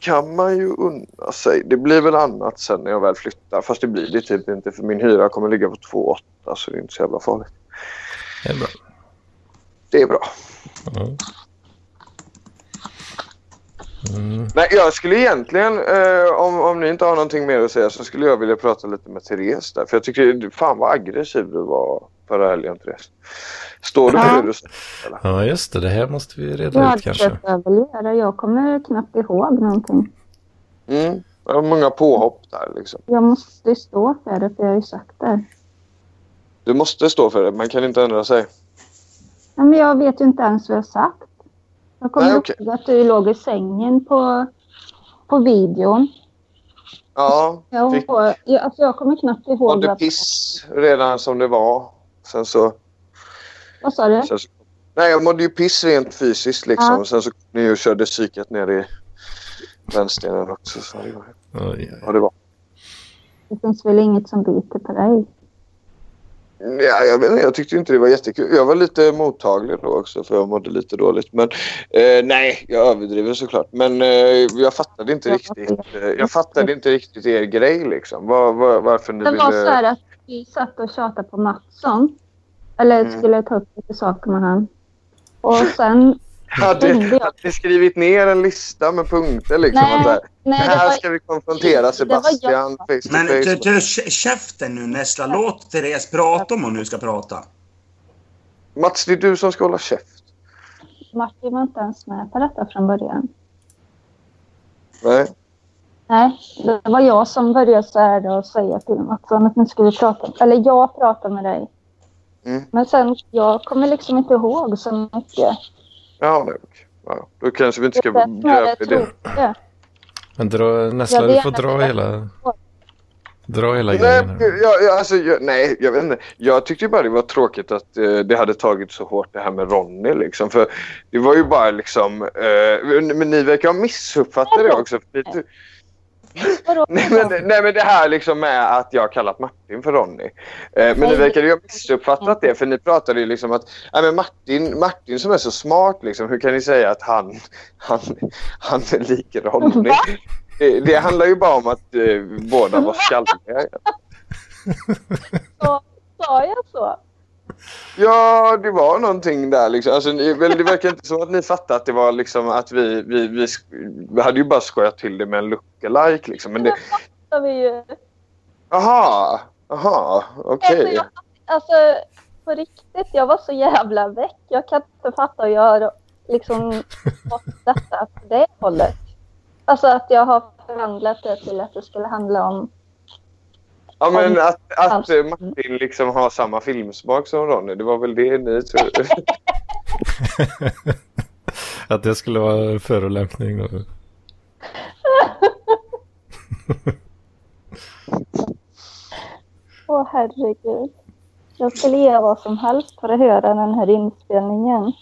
Speaker 2: kan man ju unna sig. Det blir väl annat sen när jag väl flyttar. Fast det blir det typ inte för min hyra kommer ligga på 2 800 så det är inte så jävla farligt.
Speaker 1: Det är bra.
Speaker 2: Det är bra.
Speaker 1: Ja. Mm.
Speaker 2: Nej, jag skulle egentligen, eh, om, om ni inte har någonting mer att säga, så skulle jag vilja prata lite med Therese där. För jag tycker, fan vad aggressiv du var förra helgen, Therese. Står du
Speaker 4: Ja.
Speaker 2: på hur du eller?
Speaker 1: ja, just det. Det här måste vi
Speaker 4: Jag
Speaker 1: reda
Speaker 4: hade
Speaker 1: ut kanske.
Speaker 4: försökt överleva. Jag kommer knappt ihåg någonting.
Speaker 2: Mm. Det var många påhopp där liksom.
Speaker 4: Jag måste ju stå för det, för jag har ju sagt det.
Speaker 2: Du måste stå för det, man kan inte ändra sig.
Speaker 4: Ja, Men jag vet ju inte ens vad jag har sagt. Jag kommer
Speaker 2: Nej, okej.
Speaker 4: ihåg att du låg i sängen på, på videon.
Speaker 2: Ja,
Speaker 4: Jag,
Speaker 2: fick
Speaker 4: jag, alltså jag kommer knappt ihåg
Speaker 2: mådde piss redan som det var. Sen så,
Speaker 4: Vad sa du?
Speaker 2: sen så... Nej, jag mådde ju piss rent fysiskt liksom.
Speaker 4: Ja.
Speaker 2: Sen så kom ni ju och körde psyket ner i brännstenen också. Så det var...
Speaker 1: Oj, oj.
Speaker 2: Ja, det var.
Speaker 4: Det finns väl inget som biter på dig?
Speaker 2: Mm, Ja, jag, vet inte, jag tyckte inte det var jättekul. Jag var lite mottaglig då också för jag mådde lite dåligt. Men eh, nej, jag överdriver såklart. Men eh, jag fattade inte
Speaker 4: Ja,
Speaker 2: riktigt. Eh, jag fattade inte riktigt er grej liksom. Var, var, varför ni
Speaker 4: Det var så
Speaker 2: ville...
Speaker 4: här att vi satt och tjatade på Mattsson. Eller
Speaker 2: Mm.
Speaker 4: skulle ta upp lite saker med han. Och sen...
Speaker 2: Hade,
Speaker 4: ringde jag.
Speaker 2: hade ni skrivit ner en lista med punkter liksom?
Speaker 4: Nej,
Speaker 2: att så här,
Speaker 4: Nej, det
Speaker 2: här
Speaker 4: var,
Speaker 2: ska vi konfrontera
Speaker 4: det var jag.
Speaker 2: Sebastian face to
Speaker 3: Men du,
Speaker 2: face.
Speaker 3: du, kä- käften nu Nessla. Låt Therese prata om hon nu ska prata.
Speaker 2: Mats, det är du som ska hålla käft.
Speaker 4: Martin var inte ens med på detta från början.
Speaker 2: Nej.
Speaker 4: Nej, det var jag som började så här då och säga till Mattsson att nu ska vi prata. Eller jag pratar med dig.
Speaker 2: Mm.
Speaker 4: Men sen, jag kommer liksom inte ihåg så mycket.
Speaker 2: Ja, nej. okej. Ja, då kanske vi inte
Speaker 4: Det
Speaker 2: ska
Speaker 4: är snarare
Speaker 2: gräva i det.
Speaker 4: tråkiga.
Speaker 1: Men dra,
Speaker 4: Jag
Speaker 1: nästa,
Speaker 4: vill
Speaker 1: du får
Speaker 4: gärna
Speaker 1: dra
Speaker 4: veta.
Speaker 1: hela... Dra hela
Speaker 2: Nej,
Speaker 1: grejen. här.
Speaker 2: jag, jag, alltså, jag, nej, jag vet inte. Jag tyckte ju bara det var tråkigt att eh, det hade tagit så hårt det här med Ronny liksom. För det var ju bara liksom... Eh, men, men ni verkar ha missuppfattat det också. För ni,
Speaker 4: Vadå?
Speaker 2: Nej men, nej men det här liksom med att jag har kallat Martin för Ronny. Eh, men ni
Speaker 4: Nej.
Speaker 2: verkar ju ha missuppfattat det för ni pratade ju liksom att nej, men Martin, Martin som är så smart liksom, hur kan ni säga att han, han, han är lik Ronny?
Speaker 4: Va?
Speaker 2: Det, det handlar ju bara om att eh, båda var skalliga.
Speaker 4: Sa- Sa jag så?
Speaker 2: Ja, det var någonting där liksom. Alltså, ni, väl, det verkar inte som att ni fattade att det var liksom att vi, vi, vi, sk- vi hade ju bara skojat till det med en lookalike liksom. Men det,
Speaker 4: Sa vi ju.
Speaker 2: aha, aha, okej.
Speaker 4: Alltså, jag, alltså, på riktigt, jag var så jävla väck. Jag kan inte fatta att jag har liksom fått detta på det hållet. Alltså att jag har förvandlat det till att det skulle handla om...
Speaker 2: Ja men
Speaker 4: Om-
Speaker 2: att, att
Speaker 4: alltså.
Speaker 2: eh, Martin liksom har samma filmsmak som Ronny, det var väl det ni trodde?
Speaker 1: Att det skulle vara en förolämpning då.
Speaker 4: Åh herregud. Jag skulle ge vad som helst för att höra den här inspelningen.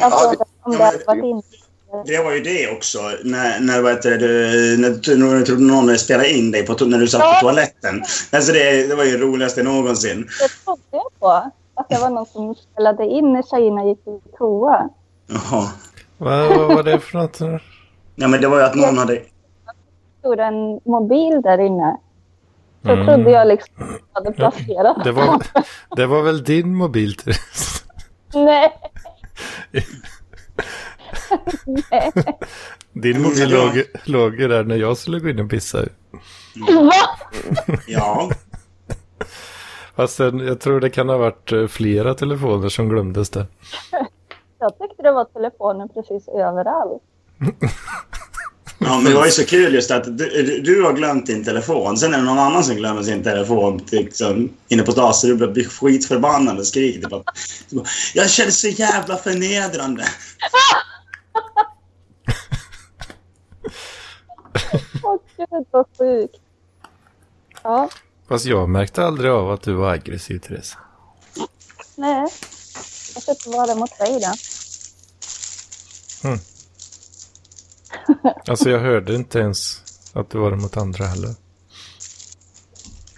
Speaker 4: Alltså
Speaker 2: Ja, det-
Speaker 4: om det hade varit in...
Speaker 3: Det var ju det också, när, när, vad heter det, du- när, du- när du trodde någon spelade in dig på, to- när du satt på toaletten. Alltså det, det var ju det roligaste någonsin.
Speaker 4: Det trodde jag på. Att det var någon som spelade in när tjejerna gick i toa.
Speaker 3: Jaha.
Speaker 1: Vad, vad var det för något?
Speaker 3: Ja, men det var ju att någon hade...
Speaker 4: stod en mobil där inne. Så
Speaker 1: Mm.
Speaker 4: trodde jag liksom att jag hade placerat
Speaker 1: Det var, det var väl din mobil, Therese?
Speaker 4: Nej. Nej.
Speaker 1: Din mobil låg, låg ju där när jag skulle gå in och pissa. ju.
Speaker 4: Va?
Speaker 3: Ja.
Speaker 1: Fast sen, jag tror det kan ha varit eh, flera telefoner som glömdes där.
Speaker 4: Jag tyckte det var telefonen precis överallt.
Speaker 3: ja, men det var ju så kul just att du, du- du har glömt din telefon. Sen är det någon annan som glömmer sin telefon liksom, inne på stan, så du blir skitförbannad och skriker. Bara, du bara, Jag känner så jävla förnedrande.
Speaker 4: Åh gud vad sjukt. Ja,
Speaker 1: Fast jag märkte aldrig av att du var aggressiv, Therese.
Speaker 4: nej. Jag ska inte vara det mot dig då.
Speaker 1: Alltså jag hörde inte ens att du var det mot andra heller.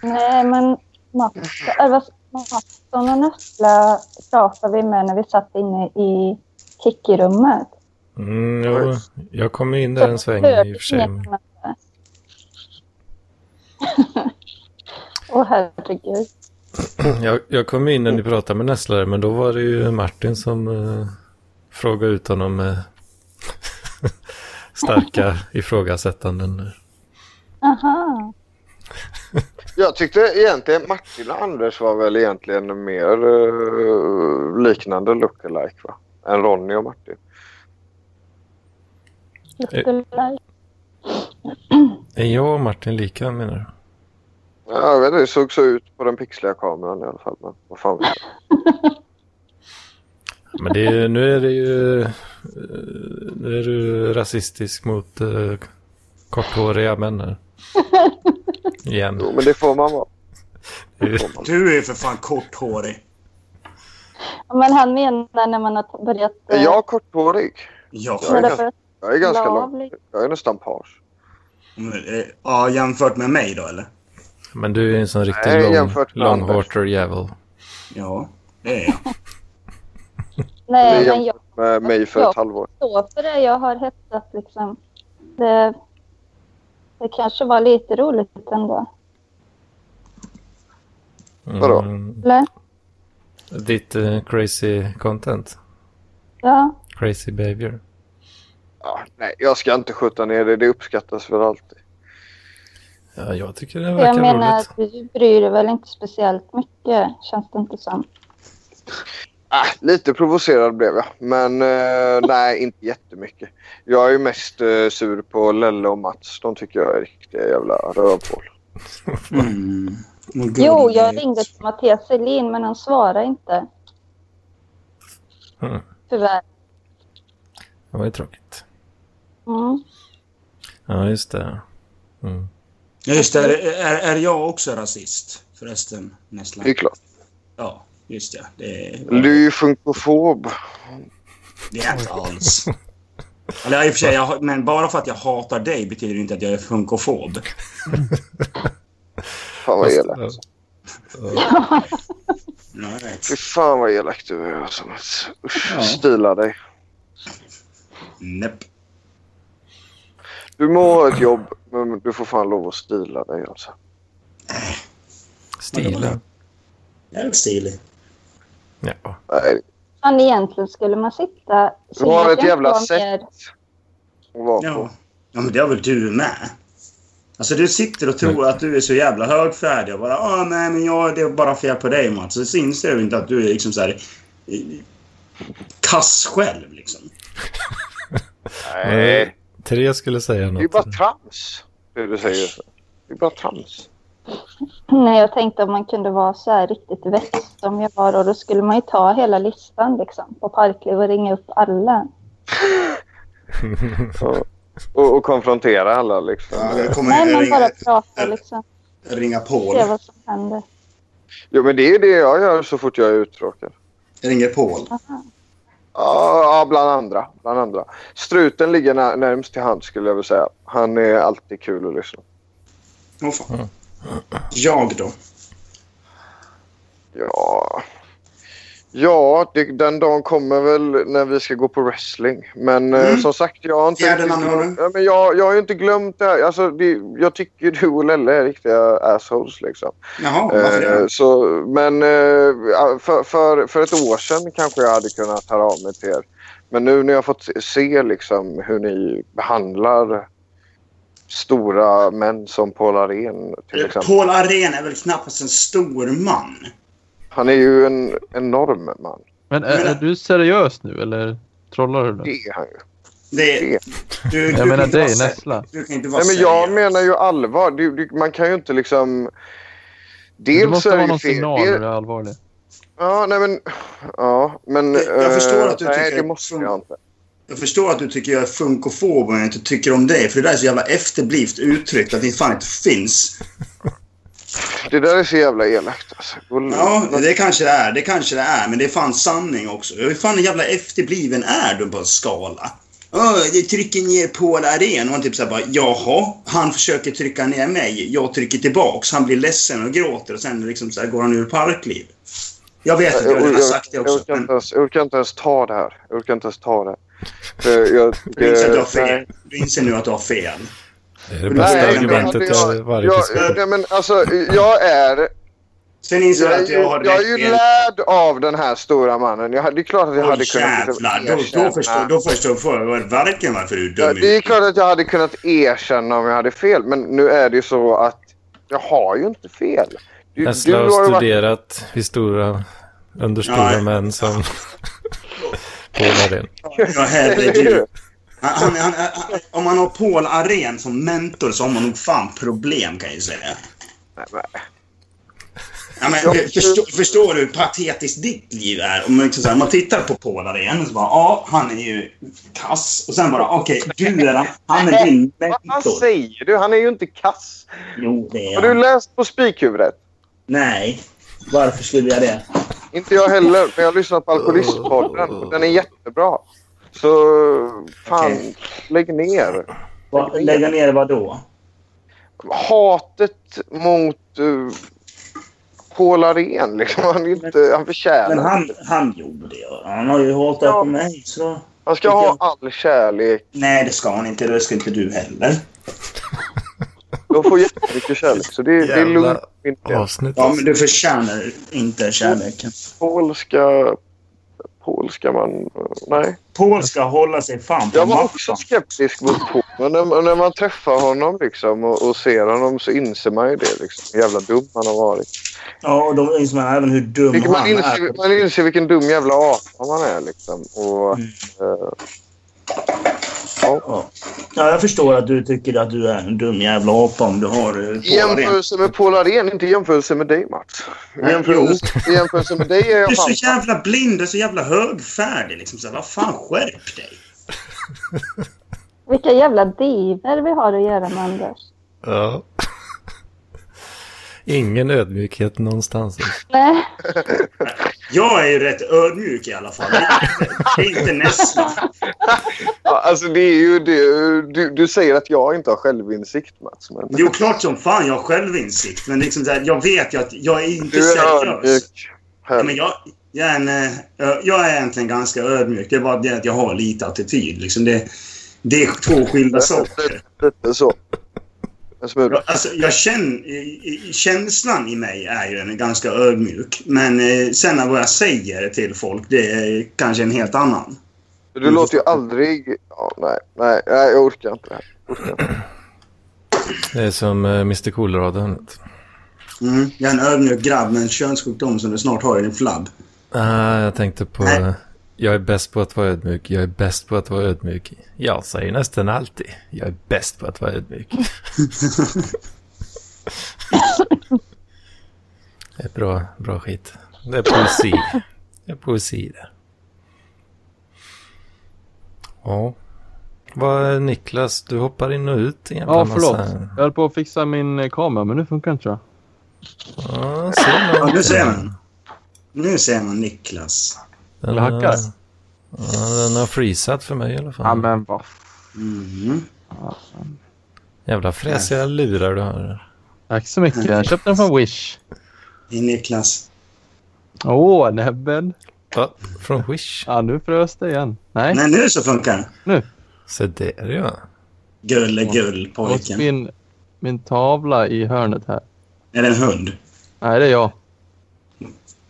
Speaker 4: Nej, men Mattsson äh, vad- Mattsson och Nessla pratade vi med när vi satt inne i kickrummet.
Speaker 1: Mm, jo, jag kom in där en sväng i och för sig. men-
Speaker 4: Åh herregud.
Speaker 1: Jag, jag kom in när ni pratade med nästlare, men då var det ju Martin som eh, frågade ut honom eh, starka ifrågasättanden.
Speaker 4: Aha.
Speaker 2: Jag tyckte egentligen Martin och Anders var väl egentligen mer eh, liknande lookalike va? Än Ronny och Martin.
Speaker 1: Eh.
Speaker 4: Lookalike.
Speaker 1: Är Eh, jag och Martin lika menar du?
Speaker 2: Ja, jag vet inte, det såg så ut på den pixliga kameran i alla fall. Men vad fan vet jag.
Speaker 1: Men det är, nu är det ju... eh, Nu är du rasistisk mot eh, korthåriga män här. Igen.
Speaker 2: Jo, men det får man vara.
Speaker 3: Du är för fan korthårig.
Speaker 4: Ja, Men han menar när man har t- börjat... eh,
Speaker 2: Är jag korthårig?
Speaker 3: Ja.
Speaker 4: när det
Speaker 2: jag-
Speaker 4: börjat
Speaker 2: Jag är ganska
Speaker 4: bla,
Speaker 2: lång.
Speaker 4: liksom.
Speaker 2: Jag är nästan page.
Speaker 3: Men, eh, Ja, jämfört med mig då eller?
Speaker 1: Men du är en sån riktig
Speaker 2: Nej,
Speaker 1: lång,
Speaker 2: jämfört med Anders.
Speaker 1: långharter jävel.
Speaker 3: Ja, det är jag.
Speaker 4: Nej,
Speaker 2: Det är
Speaker 4: men jag
Speaker 2: Med mig för
Speaker 4: Ja.
Speaker 2: ett halvår.
Speaker 4: står för det. Jag har hetsat liksom. Det, det kanske var lite roligt ändå.
Speaker 1: Mm,
Speaker 2: Vadå?
Speaker 4: Eller?
Speaker 1: Ditt eh, crazy content.
Speaker 4: Ja.
Speaker 1: Crazy behavior.
Speaker 2: Ja, nej, jag ska inte skjuta ner det. Det uppskattas väl alltid.
Speaker 1: Ja, jag tycker det
Speaker 4: Jag
Speaker 1: verkar
Speaker 4: menar,
Speaker 1: roligt.
Speaker 4: du bryr dig väl inte speciellt mycket, känns det inte som.
Speaker 2: Ah, lite provocerad blev jag, men eh, nej, inte jättemycket. Jag är ju mest eh, sur på Lelle och Mats. De tycker jag är riktiga jävla rövhål.
Speaker 3: Mm. Vad gulligt.
Speaker 4: Jo, jag ringde till Mattias Selin, men han svarade inte.
Speaker 1: Mm.
Speaker 4: Tyvärr.
Speaker 1: Det var ju tråkigt.
Speaker 4: Mm.
Speaker 1: Ja, just det. Mm.
Speaker 3: Ja, just det. Är, är, är jag också rasist förresten? Nästan.
Speaker 2: Det är klart.
Speaker 3: Ja, just det. Det är
Speaker 2: Ly funkofob.
Speaker 3: det är jag inte alls. Alltså. Eller i och för sig, jag, men bara för att jag hatar dig betyder det inte att jag är funkofob.
Speaker 2: Fan vad elakt.
Speaker 1: Fast,
Speaker 3: Nej.
Speaker 2: Fy fan vad elakt du är alltså Mats. Usch,
Speaker 3: Ja.
Speaker 2: stila dig.
Speaker 3: Näpp.
Speaker 2: Du må ha ett jobb, men du får fan lov att stila dig alltså.
Speaker 1: Stilen.
Speaker 3: Jag är väl stilig.
Speaker 1: Ja.
Speaker 2: Nej,
Speaker 4: Fan, egentligen skulle man sitta...
Speaker 2: du har ett
Speaker 4: Serien
Speaker 2: jävla
Speaker 4: var
Speaker 2: sätt
Speaker 4: mer-
Speaker 2: att vara på.
Speaker 3: Ja. ja, men det har väl du med? Alltså du sitter och tror att du är så jävla högfärdig och bara ah, nej men jag, det är bara fel på dig Mats. Så inser du inte att du är liksom så här eh, kass själv liksom.
Speaker 2: Nej,
Speaker 1: Tre skulle säga
Speaker 2: det är ju
Speaker 1: något.
Speaker 2: bara trams. Det du säger. Det är bara trams.
Speaker 4: Nej, jag tänkte om man kunde vara så här riktigt växt som jag var och då skulle man ju ta hela listan liksom på Parkliv och ringa upp alla.
Speaker 2: Ja. Och, och konfrontera alla liksom.
Speaker 3: jag
Speaker 4: Nej, man bara pratar liksom.
Speaker 3: ringa Paul.
Speaker 4: Se vad som händer.
Speaker 2: Jo men det är ju det jag gör så fort jag är uttråkad.
Speaker 3: Jag ringer Paul.
Speaker 2: Ja, ja, bland andra. Bland andra. Struten ligger när, närmst till hand skulle jag vilja säga. Han är alltid kul att lyssna på.
Speaker 3: Åh fan. Jag då?
Speaker 2: Ja. Ja, det, den dagen kommer väl när vi ska gå på wrestling. Men eh, som sagt, jag har inte...
Speaker 3: Mm. Fjärde namnhörnan.
Speaker 2: ja, men jag, jag har ju inte glömt det här. Alltså, det, jag tycker du och Lelle är riktiga assholes liksom.
Speaker 3: Jaha, varför
Speaker 2: Eh,
Speaker 3: det?
Speaker 2: så, men eh, för, för, för ett år sedan kanske jag hade kunnat höra av mig till er. Men nu när jag fått se liksom, hur ni behandlar stora män som Paul Arén till exempel.
Speaker 3: Paul Arén är väl knappast en stor man?
Speaker 2: Han är ju en enorm man.
Speaker 5: Men är, är du seriös nu eller trollar du?
Speaker 2: Det
Speaker 5: Nu?
Speaker 2: är han ju.
Speaker 3: Det,
Speaker 2: Det.
Speaker 3: du,
Speaker 5: Jag menar
Speaker 3: kan inte
Speaker 5: dig,
Speaker 3: vara se-
Speaker 5: Nessla.
Speaker 3: Du kan inte vara
Speaker 2: Nej, men jag
Speaker 3: seriös.
Speaker 2: menar ju allvar. Du, du, man kan ju inte liksom... Dels
Speaker 5: Det måste
Speaker 2: är det
Speaker 5: vara
Speaker 2: ju
Speaker 5: någon
Speaker 2: fel-
Speaker 5: signal
Speaker 2: det-
Speaker 5: när du är allvarlig.
Speaker 2: Ja, nej men... Ja, men...
Speaker 3: Det- jag förstår
Speaker 2: eh,
Speaker 3: att du
Speaker 2: nej,
Speaker 3: tycker
Speaker 2: det
Speaker 3: det
Speaker 2: måste
Speaker 3: funkar.
Speaker 2: jag inte.
Speaker 3: Jag förstår att du tycker jag är funkofob och jag inte tycker om dig. För det där är så jävla efterblivet uttryckt att det fan inte finns.
Speaker 2: Det där är så jävla elakt alltså. Gå-
Speaker 3: Ja, det kanske det är. Det kanske det är. Men det är fan sanning också. Hur fan jävla efterbliven är du på en skala? Öh, det trycker ner Paul Arén. Och han typ såhär bara jaha. Han försöker trycka ner mig. Jag trycker tillbaks. Han blir ledsen och gråter. Och sen liksom så här går han ur parkliv. Jag vet att jag redan har sagt det
Speaker 2: Jag
Speaker 3: också.
Speaker 2: orkar,
Speaker 3: Men
Speaker 2: inte ens, jag orkar inte ens ta det här. Jag orkar inte ens ta det. Eh, Jag,
Speaker 3: du inser att du har
Speaker 2: nej.
Speaker 3: fel. Du inser nu att du har fel.
Speaker 1: Det är det
Speaker 3: Nej,
Speaker 1: bästa
Speaker 3: men-
Speaker 1: argumentet
Speaker 2: alltså, jag,
Speaker 1: jag varje
Speaker 2: jag,
Speaker 1: diskussion.
Speaker 2: nej, men alltså, jag är
Speaker 3: Sen inser jag
Speaker 2: Jag,
Speaker 3: att jag har
Speaker 2: är- jag är ju
Speaker 3: rätt.
Speaker 2: lärd av den här stora mannen. Jag, hade- det är klart att jag
Speaker 3: Åh
Speaker 2: hade kunnat... liksom
Speaker 3: jävlar, då, då
Speaker 2: erkänna.
Speaker 3: förstår, då förstår jag verkligen varför du är
Speaker 2: Ja,
Speaker 3: dum
Speaker 2: det är
Speaker 3: i-
Speaker 2: klart att jag hade kunnat erkänna om jag hade fel, men nu är det ju så att jag har ju inte fel. Du,
Speaker 1: Tesla
Speaker 2: du
Speaker 1: har
Speaker 2: ju varit-
Speaker 1: studerat historia under stora
Speaker 3: Nej.
Speaker 1: män som pålar den.
Speaker 3: Ja, herregud. Han, han, han, han, om man har Paul Aren som mentor så har man nog fan problem kan jag ju säga.
Speaker 2: Nej, men-
Speaker 3: Ja, men, för- förstår, förstår du hur patetiskt ditt liv är? Om man, liksom, så här, man tittar på Paul Aren och så bara ja, han är ju kass. Och sen bara okej, du är han. Han är din
Speaker 2: Vad
Speaker 3: mentor.
Speaker 2: säger du? Han är ju inte kass.
Speaker 3: Jo, det är
Speaker 2: Har du
Speaker 3: han.
Speaker 2: läst på Spikhuvudet?
Speaker 3: Nej. Varför skulle jag det?
Speaker 2: Inte jag heller, men jag har lyssnat på Alkoholistpodden. och Den är jättebra. Så fan,
Speaker 3: Okej.
Speaker 2: lägg ner.
Speaker 3: Va, lägga ner vad då?
Speaker 2: Hatet mot uh, Paul Arén, liksom. Han, är inte, han förtjänar
Speaker 3: Men han, han gjorde det. Han har ju hållit upp på mig så...
Speaker 2: Han ska ha all kärlek.
Speaker 3: Nej, det ska han inte. Det ska inte du heller.
Speaker 2: De får jättemycket kärlek. Så det, det är
Speaker 1: Jävla
Speaker 2: lugnt. Inte.
Speaker 1: Avsnitt.
Speaker 3: Ja, men du förtjänar inte kärleken.
Speaker 2: Polska... Polska man... Nej.
Speaker 3: Paul ska hålla sig fan på
Speaker 2: Jag var också
Speaker 3: mattan.
Speaker 2: skeptisk mot Paul. Men när, när man träffar honom liksom och, och ser honom så inser man ju det. Liksom. Hur Jävla dum han har varit.
Speaker 3: Ja, och då inser man även hur dum
Speaker 2: Vilket
Speaker 3: han
Speaker 2: man,
Speaker 3: är.
Speaker 2: inser, man inser vilken dum jävla apa man är. Liksom. Och,
Speaker 3: Mm.
Speaker 2: eh, ja.
Speaker 3: Ja. ja, jag förstår att du tycker att du är en dum jävla apa om du har... eh,
Speaker 2: I jämförelse med Paul Arén, inte i jämförelse med dig Mats. I
Speaker 3: Nej,
Speaker 2: jämförelse, i jämförelse med dig är
Speaker 3: Du är
Speaker 2: jag fan...
Speaker 3: så jävla blind, du är så jävla högfärdig liksom. Så här, vad fan, skärp dig!
Speaker 4: Vilka jävla diver vi har att göra med Anders.
Speaker 1: Ja. Ingen ödmjukhet någonstans.
Speaker 4: Nej,
Speaker 3: Jag är ju rätt ödmjuk i alla fall. Det är inte nästan.
Speaker 2: Ja, alltså det är ju det. Du, du säger att jag inte har självinsikt Mats. Men...
Speaker 3: Jo, klart som fan jag har självinsikt. Men liksom så här, jag vet ju att jag är inte
Speaker 2: Du är
Speaker 3: seriös.
Speaker 2: ödmjuk.
Speaker 3: Ja, men jag, jag, är en, eh, jag- jag är egentligen ganska ödmjuk. Det är bara det att jag har lite attityd. Liksom det, det är två skilda saker.
Speaker 2: Lite så. En smula.
Speaker 3: Jag- Alltså, jag känner, känslan i mig är ju en ganska ödmjuk. Men eh, sen vad jag säger till folk, det är kanske en helt annan.
Speaker 1: Mm.
Speaker 2: Du låter ju aldrig... Ja, nej, nej, nej, jag orkar inte det här.
Speaker 1: Det är som eh, Mr Cool-raden.
Speaker 3: Mm. Jag är en ödmjuk grabb med en könssjukdom som du snart har i din flabb.
Speaker 1: Ah, jag tänkte på...
Speaker 3: Nej.
Speaker 1: Jag är bäst på att vara ödmjuk. Jag är bäst på att vara ödmjuk. Jag säger nästan alltid. Jag är bäst på att vara ödmjuk. det är bra, bra skit. Det är poesi. Det är poesi det. Ja. Vad, Niklas, du hoppar in och ut en jävla
Speaker 5: Ja, förlåt.
Speaker 1: massa.
Speaker 5: Jag höll på att fixa min eh, kamera, men nu funkar inte jag.
Speaker 1: Ja, ser
Speaker 3: Ja,
Speaker 1: man.
Speaker 3: nu ser man. Nu ser man Niklas.
Speaker 1: Den,
Speaker 5: Det hackar.
Speaker 1: eh, Ja, den har freezat för mig i alla fall.
Speaker 5: Ja, men vad
Speaker 3: Mm.
Speaker 5: fan.
Speaker 1: Jävla fräsiga lurar du har.
Speaker 5: Tack så mycket. Jag köpte den från Wish.
Speaker 3: Det är Niklas.
Speaker 5: Åh, näbben.
Speaker 1: Ja, från Wish.
Speaker 5: Ja, nu frös det igen. Nej,
Speaker 3: Nej, nu så funkar det.
Speaker 1: Se där ja.
Speaker 3: Gulle, gull,
Speaker 5: jag måste
Speaker 3: pojken.
Speaker 5: min, min tavla i hörnet här.
Speaker 3: Är det en hund?
Speaker 5: Nej, det är jag.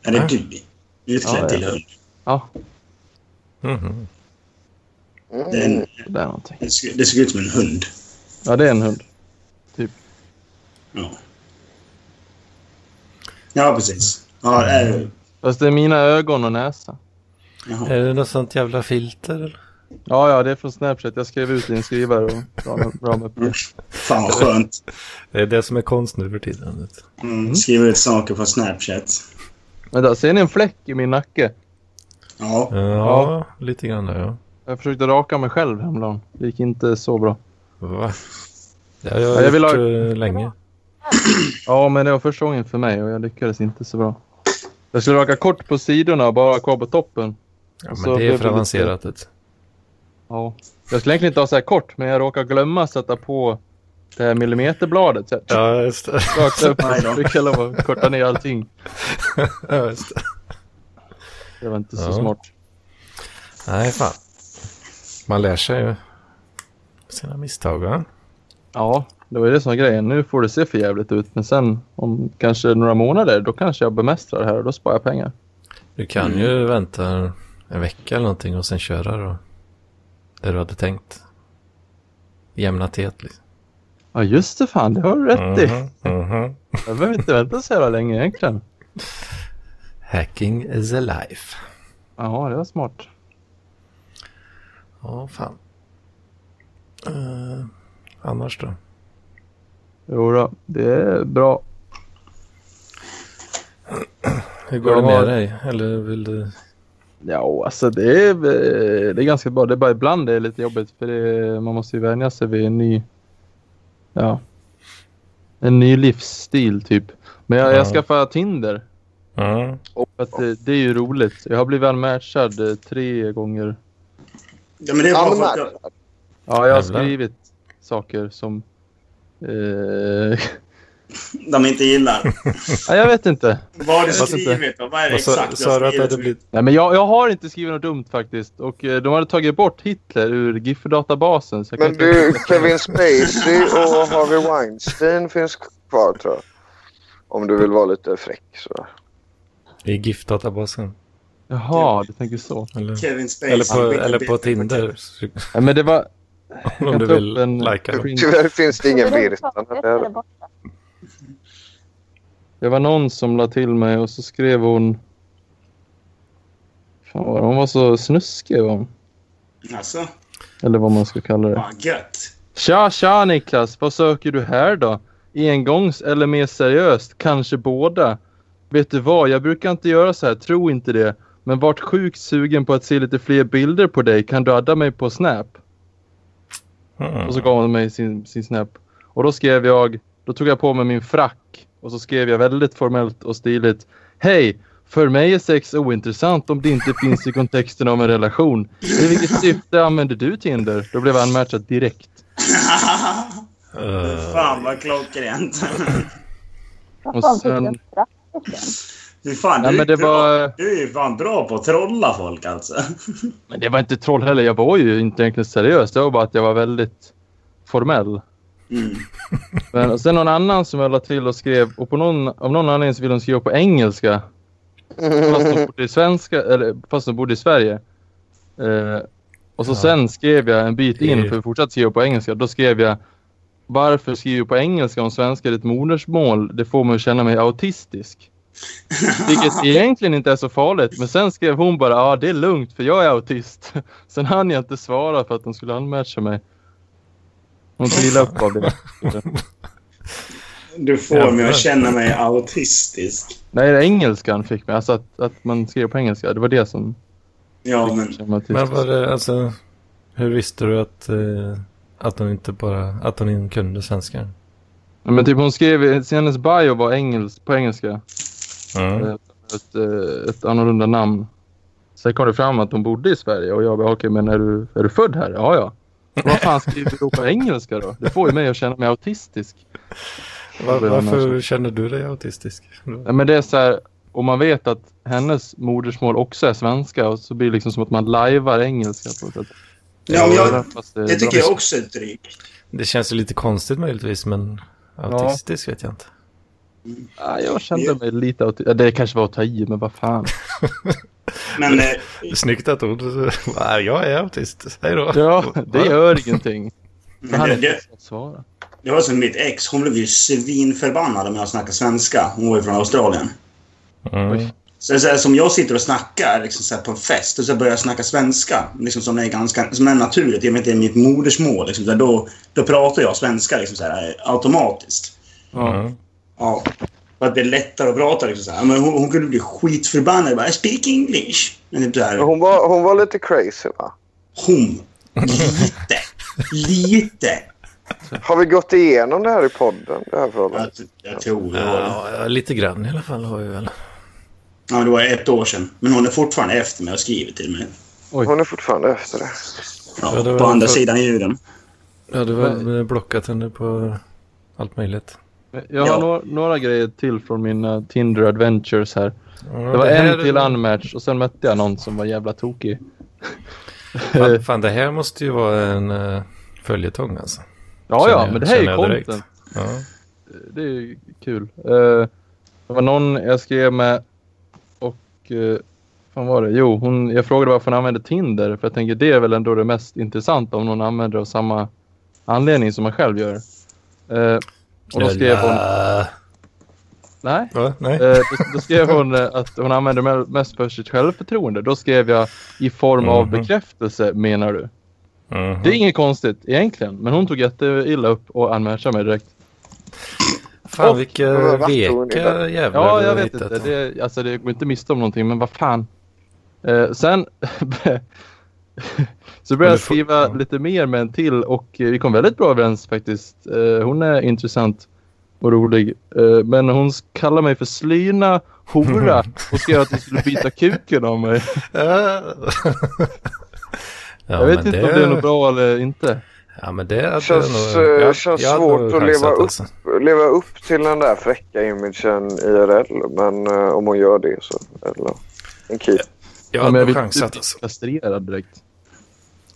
Speaker 3: Är det
Speaker 1: Ja.
Speaker 3: du? Utklädd
Speaker 5: Ja,
Speaker 3: till
Speaker 5: ja.
Speaker 3: hund.
Speaker 5: Ja,
Speaker 1: Mhm.
Speaker 2: Mm.
Speaker 3: Det, är en,
Speaker 5: det där är någonting.
Speaker 3: det, ser, det ser ut som en hund.
Speaker 5: Ja, det är en hund.
Speaker 3: Ja, ja precis. Ja, det är,
Speaker 5: Fast det är mina ögon och näsa.
Speaker 3: jaha.
Speaker 1: Är det något sånt jävla filter? Eller?
Speaker 5: Ja, ja, det är från Snapchat. Jag skrev ut i en skrivare och la en ram upp det.
Speaker 3: Fan vad skönt.
Speaker 1: Det är det som är konst nu för tiden. vet du.
Speaker 3: Mm. Skriver ut saker på Snapchat.
Speaker 5: Vänta, ser ni en fläck i min nacke?
Speaker 3: Ja.
Speaker 1: Ja,
Speaker 5: Ja.
Speaker 1: lite grann där ja.
Speaker 5: Jag försökte raka mig själv häromdagen. Det gick inte så bra.
Speaker 1: Va? Det har jag,
Speaker 5: Ja, jag vill
Speaker 1: gjort
Speaker 5: ha-
Speaker 1: eh, länge.
Speaker 5: Ja, men det var första gången för mig och jag lyckades inte så bra. Jag skulle raka kort på sidorna och bara kvar på toppen.
Speaker 1: Ja,
Speaker 5: så
Speaker 1: men det
Speaker 5: blev
Speaker 1: är
Speaker 5: det
Speaker 1: för
Speaker 5: lite-
Speaker 1: avancerat. vet du.
Speaker 5: Ja. Jag skulle egentligen inte ha så här kort, men jag råkade glömma sätta på det här millimeterbladet. Så jag
Speaker 1: Ja, just det.
Speaker 5: rakt upp
Speaker 3: Nej då.
Speaker 5: och fick jag lov att korta ner allting.
Speaker 1: Ja, just det.
Speaker 5: Det var inte så
Speaker 1: Ja.
Speaker 5: smart.
Speaker 1: Nej, fan. Man lär sig ju sina misstag. Va?
Speaker 5: Ja, det var ju det som var grejen. Nu får det se för jävligt ut, men sen om kanske några månader, då kanske jag bemästrar det här och då sparar jag pengar.
Speaker 1: Du kan
Speaker 3: Mm.
Speaker 1: ju vänta en vecka eller någonting och sen köra då. Det du hade tänkt. Jämna teet liksom.
Speaker 5: Ja, just det fan, det har du rätt i.
Speaker 1: Mhm, mhm.
Speaker 5: Jag behöver inte vänta så jävla länge egentligen.
Speaker 1: Hacking is a life.
Speaker 5: Ja, det var smart.
Speaker 1: Ja, fan. Eh, annars då?
Speaker 5: Jo då, det är bra.
Speaker 1: Hur går
Speaker 5: Jag
Speaker 1: det med
Speaker 5: har-
Speaker 1: dig? Eller vill du?
Speaker 5: Ja, alltså det är, eh, det är ganska bra. Det är bara ibland det är lite jobbigt för det är, man måste ju vänja sig vid en ny, ja, en ny livsstil typ. Men jag,
Speaker 1: Ja.
Speaker 5: jag skaffade Tinder.
Speaker 1: Mm.
Speaker 5: För att eh, det, det är ju roligt. Jag har blivit unmatchad eh, tre gånger.
Speaker 3: Ja, men det är bara för att jag...
Speaker 2: Anmärkt.
Speaker 5: Ja, jag har
Speaker 1: Jävlar.
Speaker 5: skrivit saker som... Eh,
Speaker 3: de inte gillar.
Speaker 5: ja, jag vet inte.
Speaker 3: Vad har du
Speaker 5: Fast inte-
Speaker 3: skrivit då? Vad är det
Speaker 1: Vad sa-
Speaker 3: exakt du
Speaker 1: Sa
Speaker 3: har
Speaker 1: du att det
Speaker 3: skrivit?
Speaker 1: hade blivit...
Speaker 5: Nej, men jag, jag har inte skrivit något dumt faktiskt. Och eh, de hade tagit bort Hitler ur GIF-databasen. Så jag kan
Speaker 2: Men
Speaker 5: inte-
Speaker 2: du, Kevin Spacey och Harvey Weinstein finns kvar tror jag. Om du vill vara lite fräck så.
Speaker 1: I GIF-databasen?
Speaker 5: Jaha, du tänker så.
Speaker 1: Eller,
Speaker 3: Kevin Spacey.
Speaker 1: eller, på,
Speaker 3: skickar
Speaker 1: eller på
Speaker 3: bilder
Speaker 1: Tinder?
Speaker 5: Nej, men det var...
Speaker 1: Om du
Speaker 5: ta upp
Speaker 1: vill
Speaker 5: en-
Speaker 1: likea dem.
Speaker 5: screen-
Speaker 2: Tyvärr finns det ingen Virtanen
Speaker 4: Överhuvudtaget är det
Speaker 2: där.
Speaker 4: borta.
Speaker 5: Det var någon som la till mig och så skrev hon... Fan vad hon var så snuskig var hon.
Speaker 3: Alltså,
Speaker 5: Eller vad man ska kalla det.
Speaker 3: vad gött.
Speaker 5: Tja, tja Niklas, vad söker du här då? Engångs eller mer seriöst? Kanske båda? Vet du vad, jag brukar inte göra så här, tro inte det. Men vart sjukt sugen på att se lite fler bilder på dig. Kan du adda mig på Snap?
Speaker 1: Mm.
Speaker 5: Och så gav hon mig sin, sin Snap. Och då skrev jag, då tog jag på mig min frack. Och så skrev jag väldigt formellt och stiligt. Hej! För mig är sex ointressant om det inte finns i kontexten av en relation. I vilket syfte använder du Tinder? Då blev jag unmatchad direkt.
Speaker 1: Eh,
Speaker 3: fan vad klockrent.
Speaker 5: Och
Speaker 4: Vad fan fick
Speaker 5: sen-
Speaker 4: du en straff?
Speaker 3: Fy fan,
Speaker 5: Nej,
Speaker 3: du,
Speaker 5: men
Speaker 3: är
Speaker 5: det
Speaker 3: bra.
Speaker 5: var-
Speaker 3: du är fan bra på att trolla folk alltså.
Speaker 5: Men det var inte troll heller. Jag var ju inte egentligen seriös. Det var bara att jag var väldigt formell.
Speaker 3: Mm.
Speaker 5: Men och sen någon annan som jag la till och skrev och på någon, av någon anledning så ville hon skriva på engelska. Fast hon bodde i, svenska, eller, fast hon bodde i Sverige. Eh, och så
Speaker 1: Ja.
Speaker 5: sen skrev jag en bit
Speaker 1: Det är ju-
Speaker 5: in för att fortsätta skriva på engelska. Då skrev jag varför skriver du på engelska om svenska är ditt modersmål? Det får mig att känna mig autistisk. Vilket egentligen inte är så farligt. Men sen skrev hon bara ja ah, det är lugnt för jag är autist. Sen hann jag inte svara för att de skulle anmatcha mig. Hon trillade upp av det.
Speaker 3: Du får mig att känna mig autistisk.
Speaker 5: Nej, det engelskan fick mig. Alltså att, att man skrev på engelska. Det var det som
Speaker 3: Ja, men...
Speaker 5: fick mig till.
Speaker 1: Men var det, alltså, hur visste du att, eh, att hon inte bara, att hon inte kunde svenska?
Speaker 5: Ja, men typ hon skrev, så hennes bio var engels, på engelska.
Speaker 1: Mm.
Speaker 5: Eh, Ett, eh, ett annorlunda namn. Sen kom det fram att hon bodde i Sverige och jag bara okej men är du, är du född här? Ja ja. Vad fan skriver du då på engelska då? Det får ju mig att känna mig autistisk.
Speaker 1: Var,
Speaker 5: Det var
Speaker 1: varför
Speaker 5: någon
Speaker 1: känner du dig autistisk?
Speaker 5: Nej, men det är så här, om man vet att hennes modersmål också är svenska och så blir det liksom som att man lajvar engelska på ett sätt.
Speaker 3: Ja, men jag,
Speaker 5: Fast det är
Speaker 3: det tycker
Speaker 5: bra.
Speaker 3: jag också är drygt.
Speaker 1: Det känns ju lite konstigt möjligtvis, men autistisk vet jag inte.
Speaker 5: Ja, jag kände mig lite aut- ja, Det kanske var att ta i, men vad fan.
Speaker 3: Men eh,
Speaker 1: Snyggt att hon... Nej, jag är autist. Hej då.
Speaker 5: Ja, det gör ingenting.
Speaker 3: Men
Speaker 5: Jag hade
Speaker 3: det,
Speaker 5: inte
Speaker 3: det,
Speaker 5: ens fått svara.
Speaker 3: det var som mitt ex. Hon blev ju svinförbannad om jag snackade svenska. Hon var ju från Australien.
Speaker 1: Mm.
Speaker 3: Så, det är så här, som jag sitter och snackar liksom, så här, på en fest och så börjar jag snacka svenska, liksom, som, är ganska, som är naturligt, i och med att det är mitt modersmål. Liksom, så här, då, då pratar jag svenska liksom, så här, automatiskt.
Speaker 5: Ja.
Speaker 1: Mm.
Speaker 3: Ja. För att det är lättare att prata. Liksom, så här. Men hon, hon kunde bli skitförbannad. Bara, I speak English. Men typ, så här,
Speaker 2: Men Hon var, hon var lite crazy va?
Speaker 3: hon. Lite. Lite.
Speaker 2: Har vi gått igenom det här i podden? Det här
Speaker 3: Jag,
Speaker 2: förhållandet?
Speaker 3: jag tror det var det.
Speaker 1: Ja, lite grann i alla fall har vi väl.
Speaker 3: Ja, men det var ett år sedan. Men hon är fortfarande efter mig och skriver till mig.
Speaker 2: Hon är fortfarande efter det.
Speaker 1: Ja,
Speaker 3: Ja,
Speaker 1: det var
Speaker 3: på andra
Speaker 1: för-
Speaker 3: sidan jorden.
Speaker 1: Ja, du har blockat henne på allt möjligt.
Speaker 5: Jag
Speaker 3: Ja.
Speaker 5: har några, några grejer till från mina Tinder adventures här. Det var
Speaker 1: här-
Speaker 5: en till unmatch och sen mötte jag någon som var jävla tokig.
Speaker 1: Fan, fan, det här måste ju vara en eh, följetong alltså.
Speaker 5: Ja,
Speaker 1: Känner
Speaker 5: ja,
Speaker 1: jag-
Speaker 5: men det här är ju
Speaker 1: känner jag direkt.
Speaker 5: content.
Speaker 1: Ja.
Speaker 5: Det är ju kul. Eh, det var någon jag skrev med och... Uh, fan var det? Jo, hon, jag frågade varför hon använde Tinder. För jag tänker det är väl ändå det mest intressanta om någon använder av samma anledning som man själv gör. Eh, och då skrev hon...
Speaker 1: Äh,
Speaker 5: Nej.
Speaker 1: va? Nej.
Speaker 5: Eh, Då, då skrev hon eh, att hon använder me- mest för sitt självförtroende. Då skrev jag i form av
Speaker 1: Mhm.
Speaker 5: bekräftelse menar du.
Speaker 1: Mhm.
Speaker 5: Det är inget konstigt egentligen. Men hon tog jätteilla upp och anmatchade mig direkt.
Speaker 1: Fan
Speaker 5: och-
Speaker 1: vilka
Speaker 2: Vad var
Speaker 1: veka
Speaker 2: det?
Speaker 1: jävlar
Speaker 5: Ja,
Speaker 1: du
Speaker 5: jag
Speaker 1: har
Speaker 5: vet
Speaker 1: hittat.
Speaker 5: inte. Det, alltså, det går inte miste om någonting, men vad fan. Eh, sen så började
Speaker 1: Men
Speaker 5: jag
Speaker 1: du får-
Speaker 5: skriva
Speaker 1: ja.
Speaker 5: lite mer med en till och eh, vi kom väldigt bra överens faktiskt. Eh, hon är intressant och rolig. Eh, men hon s- kallar mig för slyna, hora och skrev att hon skulle byta kuken av mig.
Speaker 1: Ja,
Speaker 5: jag vet
Speaker 1: men
Speaker 5: inte om det är något bra eller inte.
Speaker 1: Ja, men det hade
Speaker 2: Känns,
Speaker 1: jag nog...
Speaker 2: eh,
Speaker 1: jag-
Speaker 2: känns
Speaker 1: jag hade
Speaker 2: svårt
Speaker 1: nog
Speaker 2: att leva
Speaker 1: chansat, alltså.
Speaker 2: upp. Leva upp till den där fräcka imagen IRL, men eh, om hon gör det så... Eller, en keep.
Speaker 1: Jag
Speaker 5: men
Speaker 1: hade nog
Speaker 5: jag vill inte
Speaker 1: chansat
Speaker 5: bli
Speaker 1: alltså.
Speaker 5: kastrerad direkt.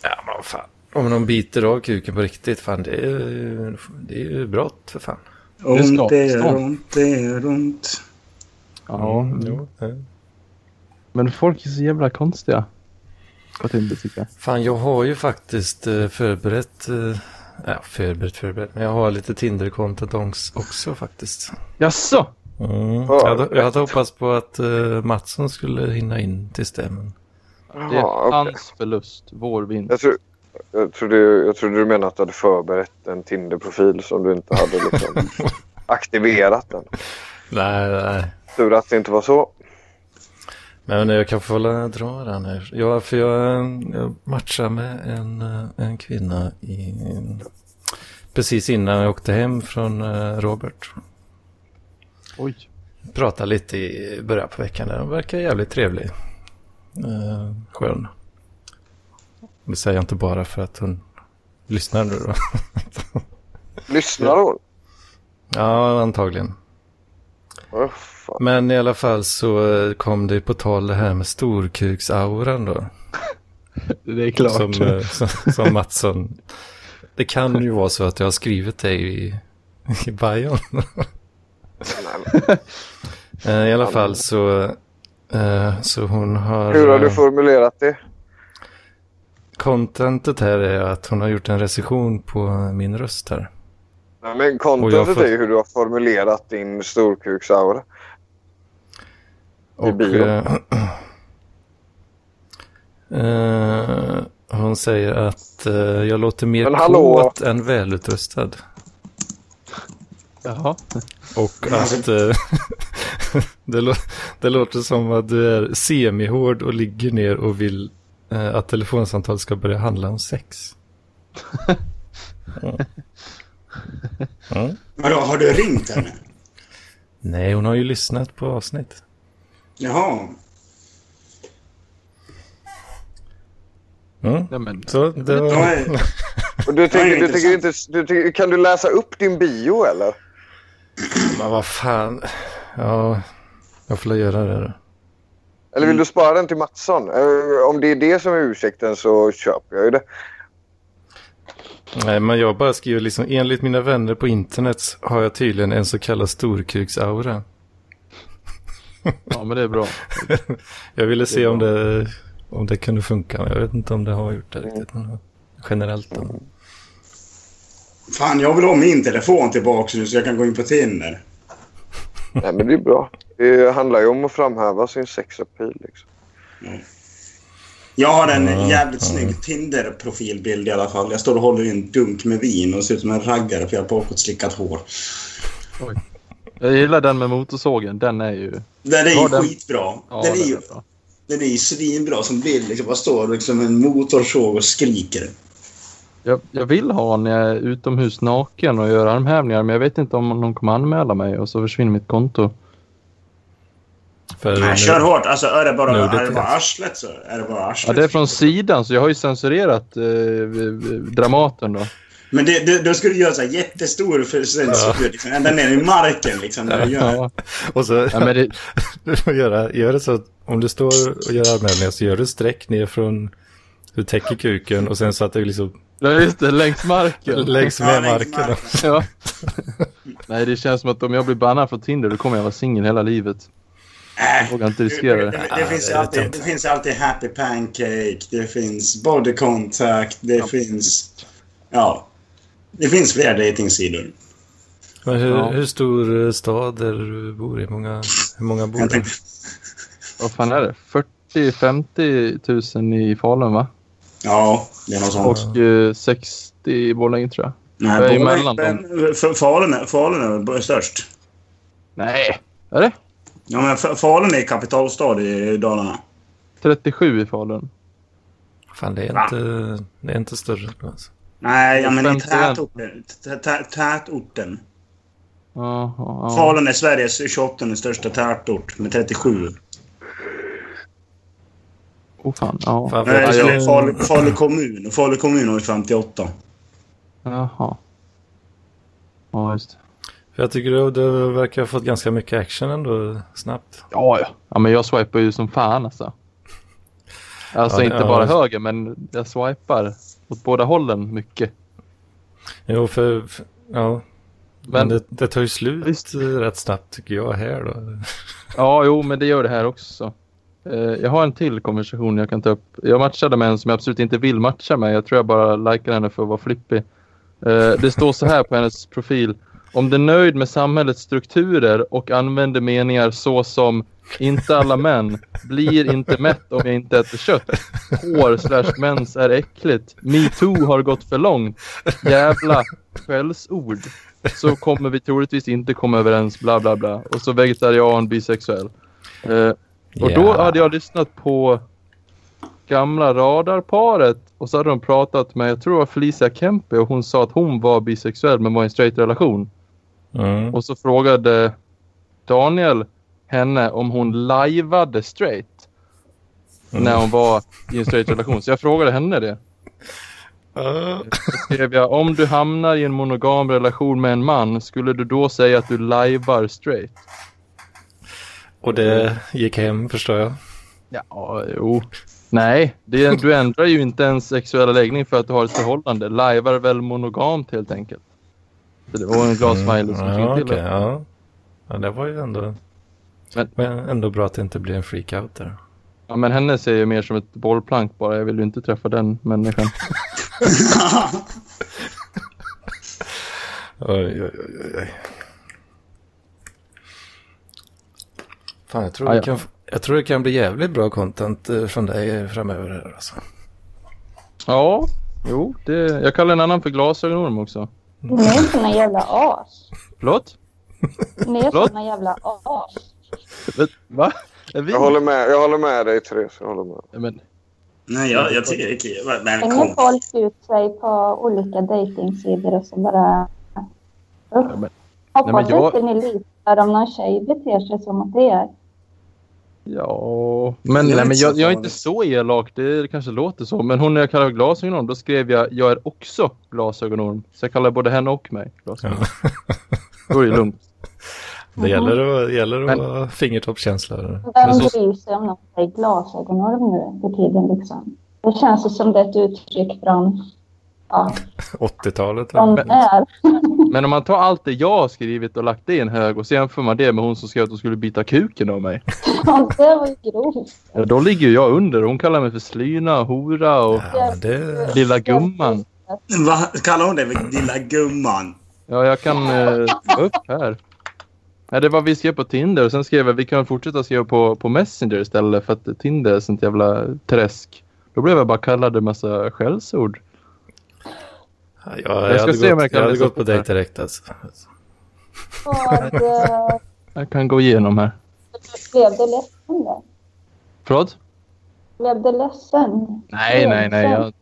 Speaker 1: Ja, men vad fan. Om de biter av kuken på riktigt, fan det är ju, det är ju brott för fan.
Speaker 3: Ont
Speaker 5: ska-
Speaker 3: är
Speaker 5: ska.
Speaker 3: runt, det är runt.
Speaker 5: Ja,
Speaker 1: jo.
Speaker 5: Mm. Men folk är så jävla konstiga. På Tinder tycker jag.
Speaker 1: Fan, jag har ju faktiskt eh, förberett, eh, ja förberett, förberett, men jag har lite Tinder-content ångs- också faktiskt.
Speaker 5: Jaså?
Speaker 1: Mm.
Speaker 2: Ja.
Speaker 1: Jag, hade, jag hade hoppats på att eh, Mattsson skulle hinna in till det, men
Speaker 5: Det är
Speaker 2: Jaha, okej.
Speaker 5: hans förlust, vår vinst.
Speaker 2: Jag, tror, jag, trodde, jag trodde du menade att du hade förberett en Tinder-profil som du inte hade liksom, aktiverat den.
Speaker 1: nej, nej.
Speaker 2: Tur att det inte var så.
Speaker 1: Men jag kan få hålla dra den här. Ja, för jag, eh, jag matchade med en, eh, en kvinna i, precis innan jag åkte hem från eh, Robert.
Speaker 5: Oj.
Speaker 1: Pratade lite i början på veckan. där. Hon verkar jävligt trevlig. Eh, skön. Det säger jag inte bara för att hon lyssnar nu då.
Speaker 2: Lyssnar hon?
Speaker 1: Ja, antagligen.
Speaker 2: Åh, fan.
Speaker 1: Men i alla fall så eh, kom det på tal det här med storkuksauran då.
Speaker 5: Det är klart.
Speaker 1: Som, eh, som, som Mattsson. Det kan ju vara så att jag har skrivit det i, i bion.
Speaker 2: Nej, men
Speaker 1: Eh, I alla fall så, eh, så hon har...
Speaker 2: Hur har du
Speaker 1: eh,
Speaker 2: formulerat det?
Speaker 1: Contentet här är att hon har gjort en recension på min röst här.
Speaker 2: Nej, men
Speaker 1: Och jag
Speaker 2: contentet
Speaker 1: får-
Speaker 2: är ju hur du har formulerat din storkuksaura. I
Speaker 1: Och,
Speaker 2: bio.
Speaker 1: eh, eh, hon säger att eh, jag låter mer
Speaker 2: Men hallå!
Speaker 1: kåt än välutrustad.
Speaker 5: Jaha.
Speaker 1: Och att eh, det, lå- det låter som att du är semihård och ligger ner och vill eh, att telefonsamtal ska börja handla om sex. Mm. Mm.
Speaker 3: Vadå, har du ringt henne?
Speaker 1: Nej, hon har ju lyssnat på avsnitt.
Speaker 3: Jaha.
Speaker 1: Mm.
Speaker 5: Nej, men,
Speaker 1: Så det
Speaker 3: Då
Speaker 1: var...
Speaker 3: är,
Speaker 2: Och du tycker, du
Speaker 3: intressant.
Speaker 2: tycker inte, du tycker, kan du läsa upp din bio eller?
Speaker 1: Men vad fan. Ja, jag får väl göra det då.
Speaker 2: Eller
Speaker 1: Mm.
Speaker 2: vill du spara den till Mattsson? Eh, Om det är det som är ursäkten så köper jag ju det.
Speaker 1: Nej, men jag bara skriver liksom enligt mina vänner på internet har jag tydligen en så kallad storkuksaura.
Speaker 5: ja, men det är bra.
Speaker 1: Jag ville
Speaker 5: Det
Speaker 1: se
Speaker 5: är
Speaker 1: om
Speaker 5: bra.
Speaker 1: det, om det kunde funka. men Jag vet inte om det har gjort det riktigt. Men generellt då.
Speaker 3: fan, jag vill ha min telefon tillbaka nu så jag kan gå in på Tinder.
Speaker 2: Nej, men det är bra. Det handlar ju om att framhäva sin sexapil. Liksom.
Speaker 3: Jag har en jävligt snygg Tinder-profilbild i alla fall. Jag står och håller i en dunk med vin och ser ut som en raggare för jag har bakåtslickat hår.
Speaker 5: Jag gillar den med motorsågen. Den är ju...
Speaker 3: Den är ju
Speaker 5: Ja, den-
Speaker 3: skitbra.
Speaker 5: Ja,
Speaker 3: den, är
Speaker 5: den
Speaker 3: ju,
Speaker 5: är bra.
Speaker 3: den är ju svinbra som bild. Liksom, bara står liksom en motorsåg och skriker.
Speaker 5: Jag, jag vill ha när jag är utomhus naken och gör armhävningar, men jag vet inte om någon kommer anmäla mig och så försvinner mitt konto.
Speaker 1: För
Speaker 3: Nej, kör hårt. Alltså, är det bara,
Speaker 1: Nu, det
Speaker 3: är det bara
Speaker 1: finns.
Speaker 3: arslet så är det bara
Speaker 5: Ja,
Speaker 3: arslet.
Speaker 5: det är från sidan, så jag har ju censurerat eh, Dramaten då.
Speaker 3: Men det, det, då ska du göra så här jättestor för censur. Liksom, ända ner i marken liksom. När du gör.
Speaker 5: Ja,
Speaker 1: och så,
Speaker 5: ja, men det,
Speaker 1: du får göra, gör det så att om du står och gör armhävningar så gör du streck ner från Du täcker kuken och sen så att det liksom
Speaker 5: Ja, just det. Längs marken.
Speaker 1: läggs
Speaker 3: Ja,
Speaker 1: med
Speaker 3: längs
Speaker 1: marken.
Speaker 5: Ja. Nej, det känns som att om jag blir bannad från Tinder då kommer jag vara singel hela livet.
Speaker 3: Äh,
Speaker 5: Vågar inte
Speaker 3: det,
Speaker 5: riskera det.
Speaker 3: det, det, finns
Speaker 1: det är
Speaker 3: alltid,
Speaker 1: tönt.
Speaker 3: det finns alltid happy pancake, det finns body contact, det finns... Ja. Det finns flera dejtingsidor.
Speaker 1: Men hur,
Speaker 5: Ja.
Speaker 1: hur stor eh, stad är det du bor i? Hur många, hur många bor
Speaker 3: Jag
Speaker 1: där?
Speaker 3: tänkte,
Speaker 5: Vad fan är det? 40-50 000 i Falun, va?
Speaker 3: ja, det är något sånt.
Speaker 5: Och eh, 60 i Borlänge, tror jag.
Speaker 3: Nej,
Speaker 5: det är
Speaker 3: Borlänge-
Speaker 5: emellan dem.
Speaker 3: men F- Falun är, Falun är väl störst?
Speaker 5: Nej, är det?
Speaker 3: Ja, men F- Falun är kapitalstad i Dalarna.
Speaker 5: 37 i Falun.
Speaker 1: Fan, det är inte, det är inte större. Alltså.
Speaker 3: Nej, ja, men i
Speaker 5: 51.
Speaker 3: tätorten. tä- tä- Tätorten.
Speaker 5: Jaha, ja.
Speaker 3: Falun är Sveriges 28 största tätort med 37.
Speaker 5: Oh, fan. Ja.
Speaker 1: Fan, för
Speaker 3: Nej,
Speaker 1: jag
Speaker 3: ja,
Speaker 1: tycker-
Speaker 3: Falu, Falu kommun. Falu kommun har ju 58.
Speaker 5: Jaha. Ja, just det.
Speaker 1: För jag tycker det, det verkar ha fått ganska mycket action ändå snabbt.
Speaker 5: Ja, ja. ja, men jag swipar ju som fan alltså. Alltså
Speaker 1: Ja, det-
Speaker 5: inte
Speaker 1: ja.
Speaker 5: bara höger, men jag swipar åt båda hållen mycket.
Speaker 1: Jo, för... för- Ja. Men,
Speaker 5: Men-
Speaker 1: det, det tar ju slut
Speaker 5: Visst.
Speaker 1: eh, rätt snabbt tycker jag här då.
Speaker 5: Ja, jo, men det gör det här också. Eh, Jag har en till konversation jag kan ta upp. Jag matchade med en som jag absolut inte vill matcha med. Jag tror jag bara likar henne för att vara flippig. Eh, Det står så här på hennes profil. Om du är nöjd med samhällets strukturer och använder meningar så som inte alla män, blir inte mätt om jag inte äter kött, hår slash mens är äckligt, metoo har gått för långt, jävla skällsord så kommer vi troligtvis inte komma överens, bla bla bla. Och så vegetarian, bisexuell. Eh, och då
Speaker 1: Ja.
Speaker 5: hade jag lyssnat på gamla radarparet och så hade de pratat med, jag tror det var Felicia Kempe och hon sa att hon var bisexuell men var i en straight relation.
Speaker 1: Mm.
Speaker 5: Och så frågade Daniel henne om hon lajvade straight. När hon var i en straight relation. Så jag frågade henne det skrev jag om du hamnar i en monogam relation med en man, skulle du då säga att du lajvar straight?
Speaker 1: Och det gick hem förstår jag.
Speaker 5: Ja, jo. Nej, det, du ändrar ju inte ens sexuella läggning för att du har ett förhållande. Lajvar väl monogamt helt enkelt. Så det var en glad smiley som
Speaker 1: Mm, ja,
Speaker 5: fick till
Speaker 1: okej,
Speaker 5: det.
Speaker 1: ja. ja, det var ju ändå...
Speaker 5: Men-
Speaker 1: Men ändå bra att det inte blir en freakout där.
Speaker 5: Ja, men henne ser jag mer som ett bollplank bara. Jag vill ju inte träffa den människan.
Speaker 1: Oj, oj, oj, oj, oj. Fan, jag tror,
Speaker 5: Ah,
Speaker 1: det
Speaker 5: ja.
Speaker 1: kan, jag tror det kan bli jävligt bra content eh, från dig framöver här alltså.
Speaker 5: Ja, jo. Det, jag kallar en annan för glasögonorm också.
Speaker 4: Ni är såna jävla as.
Speaker 5: Förlåt?
Speaker 4: Ni är
Speaker 5: Förlåt?
Speaker 4: såna jävla as.
Speaker 5: Va? Är vi?
Speaker 2: Jag håller med, jag håller med dig Therese. Jag håller med.
Speaker 5: Ja, Men,
Speaker 3: Nej, jag, jag tycker... Men
Speaker 4: Hänger
Speaker 3: kom.
Speaker 4: folk ut sig på olika dejtingsidor och så bara... Usch.
Speaker 5: men-
Speaker 4: Hoppas
Speaker 5: jag-
Speaker 4: inte ni litar om någon tjej beter sig som att det är.
Speaker 5: Ja, men,
Speaker 3: Det är
Speaker 5: nej,
Speaker 3: inte
Speaker 5: men
Speaker 3: så
Speaker 5: jag, jag är
Speaker 3: farligt.
Speaker 5: inte så elak. Det kanske låter så. Men hon när jag kallar glasögonorm, då skrev jag jag är också glasögonorm. Så jag kallar både henne och mig glasögonorm. Då är det lugnt.
Speaker 1: Det gäller att, gäller att
Speaker 5: Men-
Speaker 1: ha fingertoppskänsla. där.
Speaker 4: Vem
Speaker 5: Men så-
Speaker 4: bryr sig om någon säger glasögonorm nu för tiden liksom? Det känns ju som det är ett uttryck från... Ja,
Speaker 1: 80-talet.
Speaker 4: från
Speaker 1: eller?
Speaker 4: är.
Speaker 5: Men om man tar allt det jag har skrivit och lagt det i en hög och så jämför man det med hon som skrev att hon skulle byta kuken av mig.
Speaker 4: Ja, det var ju grovt.
Speaker 5: Ja, då ligger ju jag under. Hon kallar mig för slyna, hora och
Speaker 1: Ja, men det...
Speaker 5: lilla gumman.
Speaker 3: Va? Kallar hon dig för lilla gumman?
Speaker 5: Ja, jag kan eh, ta upp här. Nej, det var vi skrev på Tinder och sen skrev jag vi kan fortsätta skriva på, på Messenger istället för att Tinder är sånt jävla träsk. Då blev jag bara kallad en massa skällsord.
Speaker 1: Ja, jag, jag,
Speaker 5: ska
Speaker 1: hade
Speaker 5: se om jag
Speaker 1: gått,
Speaker 5: kan
Speaker 1: jag hade
Speaker 5: läsa
Speaker 1: gått
Speaker 5: upp
Speaker 1: på
Speaker 5: det här.
Speaker 1: dejt direkt alltså.
Speaker 4: Vad eh,
Speaker 5: Jag kan gå igenom här.
Speaker 4: blev du ledsen då?
Speaker 5: Förlåt?
Speaker 4: Blev du ledsen?
Speaker 5: Nej, nej, nej. Jag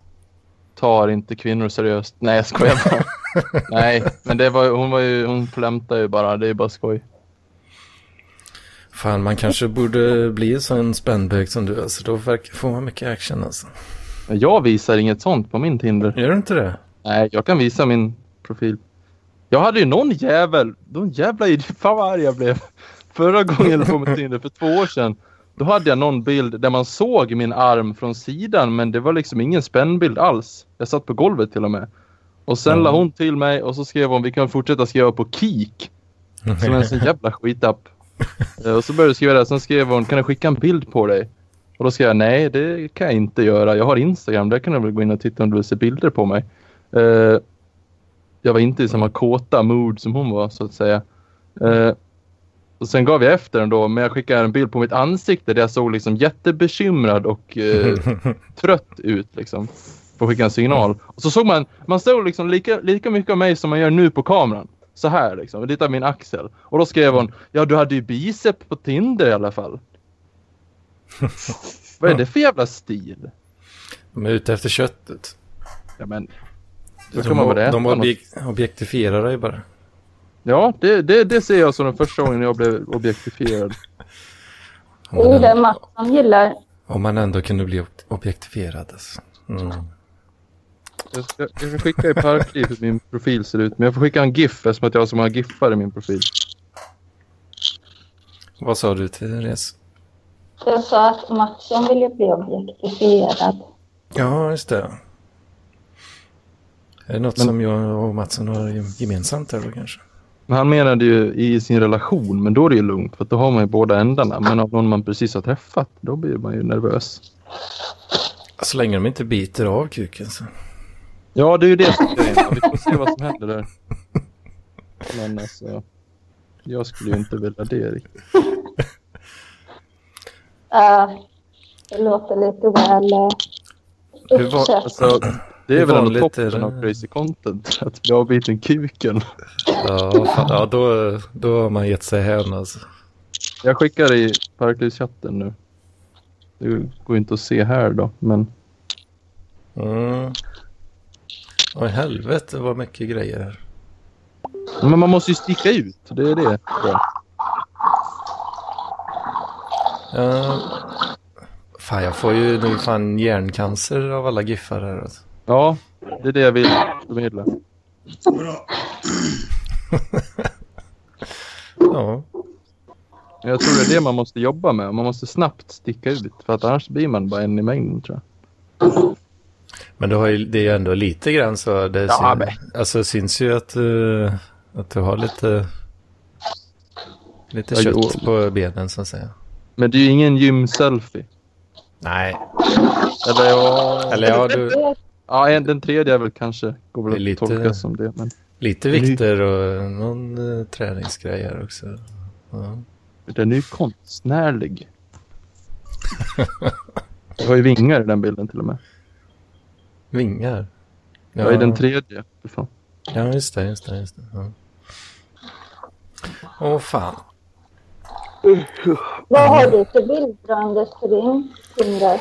Speaker 5: tar inte kvinnor seriöst. Nej, jag skojar bara. nej, men det var, hon, var ju, hon flämtade ju bara. Det är bara skoj.
Speaker 1: Fan, man kanske borde bli en sån spännbög som du. Alltså, då verkar, får man mycket action alltså.
Speaker 5: Men Jag visar inget sånt på min Tinder.
Speaker 1: Gör du inte det?
Speaker 5: Nej, jag kan visa min profil. Jag hade ju någon jävel, någon jävla idiot, fan vad arg jag blev. Förra gången jag höll på med Tinder, för två år sedan, Då hade jag någon bild där man såg min arm från sidan men det var liksom ingen spännbild alls. Jag satt på golvet till och med. Och sen la hon till mig och så skrev hon vi kan fortsätta skriva på Kik. Som en sån jävla skitapp. Eh, Och så började jag skriva det. Sen skrev hon kan jag skicka en bild på dig? Och då skrev jag nej det kan jag inte göra. Jag har Instagram. Där kan du väl gå in och titta om du vill se bilder på mig. Eh, jag var inte i samma kåta mood som hon var så att säga. Eh, och sen gav jag efter ändå, men jag skickade en bild på mitt ansikte där jag såg liksom jättebekymrad och eh, trött ut. Liksom, för att skicka en signal. Och så såg man, man såg liksom lika, lika mycket av mig som man gör nu på kameran. Så här liksom, lite av min axel. Och då skrev hon, ja du hade ju bicep på Tinder i alla fall. Vad är det för jävla stil?
Speaker 1: De är ute efter köttet.
Speaker 5: Ja, men, då kan
Speaker 1: De,
Speaker 5: man väl
Speaker 1: de,
Speaker 5: äta
Speaker 1: de
Speaker 5: något.
Speaker 1: objek- objektifierar dig bara.
Speaker 5: Ja, det, det, det ser jag som den första gången jag blev objektifierad.
Speaker 1: Om
Speaker 4: Det är ju
Speaker 1: man,
Speaker 4: det
Speaker 1: ändå,
Speaker 4: Mattan gillar.
Speaker 1: om man ändå kunde bli ob- objektifierad. Alltså. Mm.
Speaker 5: Jag ska, jag ska skicka i parkliv hur min profil ser ut, men jag får skicka en GIF eftersom att jag har så många GIFar i min profil.
Speaker 1: Vad sa du Therese?
Speaker 4: Jag sa att Mattsson vill ju bli objektifierad.
Speaker 1: Ja, just det. Är det något
Speaker 5: Men-
Speaker 1: som jag och Mattsson har gem- gemensamt där då kanske?
Speaker 5: Men han menade ju i sin relation, men då är det ju lugnt för att då har man ju båda ändarna. Men av någon man precis har träffat, då blir man ju nervös.
Speaker 1: Så Alltså, länge de inte biter av kuken så.
Speaker 5: Ja, det är ju det som är grejen. Vi får se vad som händer där. Men alltså, jag skulle ju inte vilja det riktigt.
Speaker 4: Eh, det låter lite väl eh,
Speaker 1: Hur var-
Speaker 4: uppköpt.
Speaker 5: Alltså, det
Speaker 1: Hur
Speaker 5: är väl ändå
Speaker 1: vanligt är
Speaker 5: toppen
Speaker 1: det?
Speaker 5: av crazy content, att bli avbiten kuken.
Speaker 1: Ja, fan, ja då, då har man gett sig hän alltså.
Speaker 5: Jag skickar i Parklivschatten nu. Det går inte att se här då, men
Speaker 1: Mm. Åh helvete vad mycket grejer här.
Speaker 5: Men man måste ju sticka ut. Det är det.
Speaker 1: Ja. Eh, fan jag får ju nu fan hjärncancer av alla giffar här alltså.
Speaker 5: Ja, det är det jag vill förmedla.
Speaker 3: Bra.
Speaker 1: Ja.
Speaker 5: Men Jag tror det är det man måste jobba med. Man måste snabbt sticka ut. För att annars blir man bara en i mängden tror jag.
Speaker 1: Men du har ju, det är ju ändå lite grann så. Det
Speaker 5: Ja,
Speaker 1: syn-
Speaker 5: men.
Speaker 1: alltså syns ju att, eh, att du har lite, lite
Speaker 5: Ja, jo.
Speaker 1: kött på benen så att säga.
Speaker 5: Men det är ju ingen gym-selfie.
Speaker 1: Nej,
Speaker 5: Eller ja...
Speaker 1: eller ja, du,
Speaker 5: ja en, den tredje är väl kanske... Går väl
Speaker 1: Det
Speaker 5: att
Speaker 1: är lite-
Speaker 5: tolka som det. Men
Speaker 1: lite vikter och någon eh, träningsgrej här också. Ja.
Speaker 5: den är ju konstnärlig. Jag har ju vingar i den bilden till och med.
Speaker 1: Vingar.
Speaker 5: Jag är den tredje. Fy fan.
Speaker 1: Ja, just det, just det, just det. Ja. Åh fan.
Speaker 4: Vad har du för bilder Anders på din Tinder?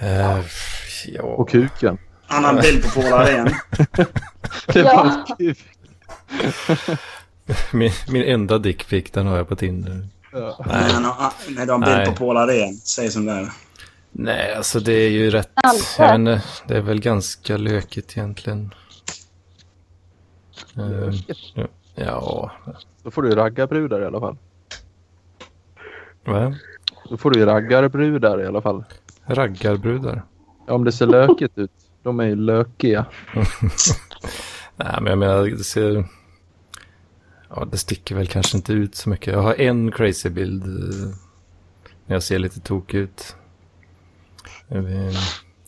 Speaker 1: Eh, f- ja.
Speaker 5: Och kuken.
Speaker 3: Annan bild på Paul Arén.
Speaker 5: Det
Speaker 4: Ja.
Speaker 5: var hans kuk.
Speaker 1: Min, min enda dickpic den har jag på Tinder.
Speaker 5: Ja.
Speaker 3: Nej, han har- nej, du har en
Speaker 1: Nej.
Speaker 3: bild på Paul Arén. Säg som det är.
Speaker 1: Nej, alltså det är ju rätt.
Speaker 4: Alltså.
Speaker 1: Jag vet inte, det är väl ganska lökigt egentligen. Eh, ja,
Speaker 5: Då får du ju raggarbrudar i alla fall.
Speaker 1: va?
Speaker 5: Då får du ju raggarbrudar i alla fall.
Speaker 1: Raggarbrudar.
Speaker 5: Ja, om det ser lökigt ut. De är ju lökiga.
Speaker 1: Nej, men jag menar, det ser... Ja, det sticker väl kanske inte ut så mycket. Jag har en crazy bild eh, när jag ser lite tokig ut. Jag vet-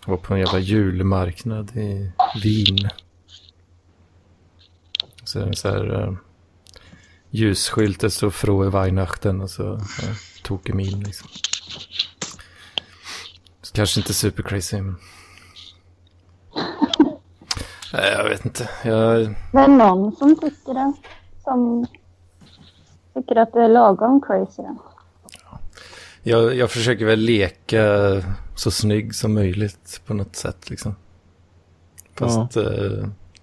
Speaker 1: jag var på en jävla julmarknad i Wien. Så är det så här eh, ljusskylt, det står Frohe Weihnachten och så eh, tokig min liksom. Så kanske inte super crazy, men... Nej, jag vet inte. Jag...
Speaker 4: Det är någon som tycker det. Som tycker att du är lagom crazy.
Speaker 1: Jag, jag försöker väl leka så snygg som möjligt på något sätt liksom. Fast ja,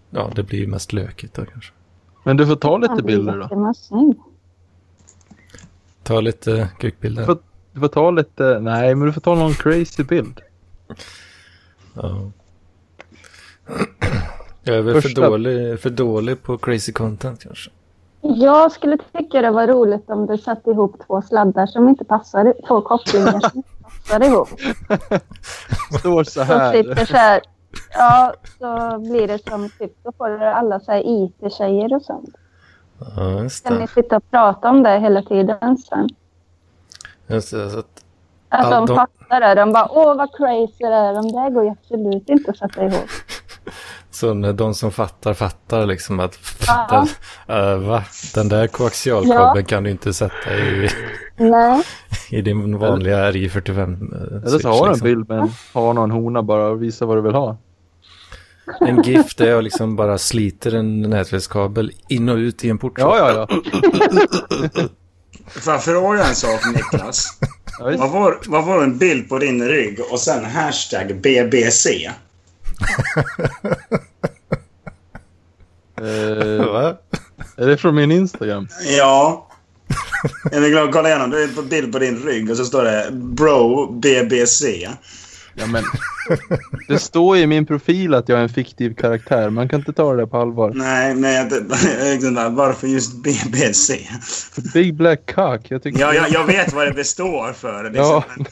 Speaker 1: ja det blir ju mest lökigt då kanske.
Speaker 5: Men du får ta
Speaker 4: Han
Speaker 5: lite
Speaker 4: blir
Speaker 5: bilder då.
Speaker 4: jättemycket snygg.
Speaker 1: Ta lite kukbilder.
Speaker 5: För- Du får ta lite, nej men du får ta någon crazy bild.
Speaker 1: Ja. Jag är väl för
Speaker 5: Första-
Speaker 1: dålig, för dålig på crazy content kanske.
Speaker 4: Jag skulle tycka det var roligt om du satte ihop två sladdar som inte passar, två kopplingar som inte passar ihop.
Speaker 5: Står så
Speaker 4: Som
Speaker 5: här.
Speaker 4: sitter så här. Ja, så blir det som typ, då får du alla så här IT-tjejer och sånt.
Speaker 1: Ja, just
Speaker 4: Kan ni
Speaker 1: det.
Speaker 4: sitta och prata om det hela tiden sen?
Speaker 1: Just det så att,
Speaker 4: Att
Speaker 1: Ja,
Speaker 4: de
Speaker 1: de-
Speaker 4: fattar det. De bara, åh vad crazy det är. De där går ju absolut inte att sätta ihop.
Speaker 1: så när de som fattar fattar liksom att fattar, äh, va? Den där koaxialkabeln
Speaker 4: Ja.
Speaker 1: kan du inte sätta i,
Speaker 4: Nej.
Speaker 1: i din vanliga RJ45 eh,
Speaker 5: Eller så
Speaker 1: switch,
Speaker 5: har du en
Speaker 1: liksom.
Speaker 5: bild med en hane och en hona bara och visar vad du vill ha.
Speaker 1: En GIF där jag liksom bara sliter en nätverkskabel in och ut i en port.
Speaker 5: Ja, ja, ja.
Speaker 3: Får jag fråga en sak, Niklas?
Speaker 5: ja visst.
Speaker 3: Vad var, vad var en bild på din rygg och sen hashtag BBC?
Speaker 5: Eh,
Speaker 1: Va?
Speaker 5: är det från min Instagram?
Speaker 3: Ja. Är ni glada? Kolla igenom. Det är en bild på din rygg och så står det Bro BBC.
Speaker 5: Ja, men. Det står ju i min profil att jag är en fiktiv karaktär. Man kan inte ta det där på allvar.
Speaker 3: Nej, men jag, jag undrar varför just BBC?
Speaker 5: Big Black Cock. Jag tycker...
Speaker 3: Ja, jag, jag vet vad det består för. Liksom.
Speaker 5: Ja,
Speaker 3: Men-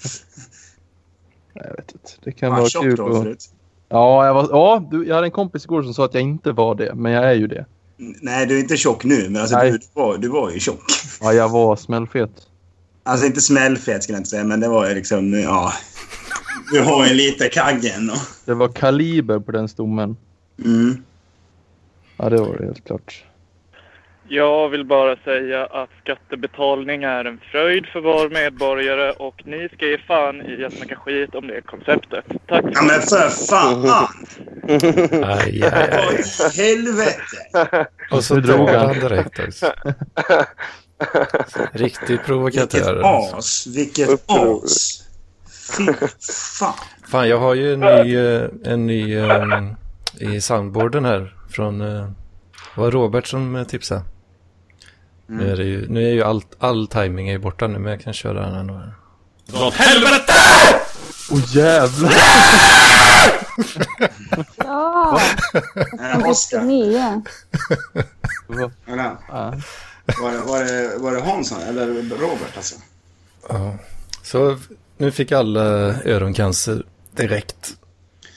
Speaker 5: Nej, Jag vet inte. Det kan
Speaker 3: Fan,
Speaker 5: vara
Speaker 3: tjock
Speaker 5: kul.
Speaker 3: Ah, då
Speaker 5: att-
Speaker 3: förut.
Speaker 5: Ja, jag, var, ja du, jag hade en kompis igår som sa att jag inte var det, men jag är ju det.
Speaker 3: Nej, du är inte tjock nu, men alltså,
Speaker 5: Nej.
Speaker 3: du, du, var, du var ju tjock.
Speaker 5: Ja, jag var smällfet.
Speaker 3: Alltså inte smällfet skulle jag inte säga, men det var ju liksom, ja. Du har ju lite kaggen och...
Speaker 5: Det var kaliber på den stommen.
Speaker 3: Mm.
Speaker 5: Ja, det var det helt klart.
Speaker 6: Jag vill bara säga att skattebetalning är en fröjd för var medborgare och ni ska ge fan i att snacka skit om det konceptet. Tack!
Speaker 3: Ja men för fan!
Speaker 1: Aj, aj, aj.
Speaker 3: Vad i helvete!
Speaker 1: Och så
Speaker 5: Nu drog
Speaker 1: drog
Speaker 5: han.
Speaker 1: han direkt också. Riktig
Speaker 3: Vilket
Speaker 1: provokatör. alltså.
Speaker 3: as! Vilket
Speaker 2: Uppror.
Speaker 3: as! Fy fan!
Speaker 1: Fan, jag har ju en ny, eh, en ny eh, i soundboarden här från, eh, det var Robert som eh, tipsade. Nu är, det ju, nu är ju allt, all timing är ju borta nu, men jag kan köra den här nu.
Speaker 5: Åh oh, jävlar!
Speaker 4: Ja,
Speaker 3: Eh,
Speaker 4: riktigt
Speaker 3: Oskar,
Speaker 4: nya.
Speaker 5: Vad
Speaker 3: vänta.
Speaker 5: fan?
Speaker 3: var det, var, det, var det Hansson eller Robert alltså?
Speaker 1: Ja. Så f- nu fick alla eh, öroncancer direkt.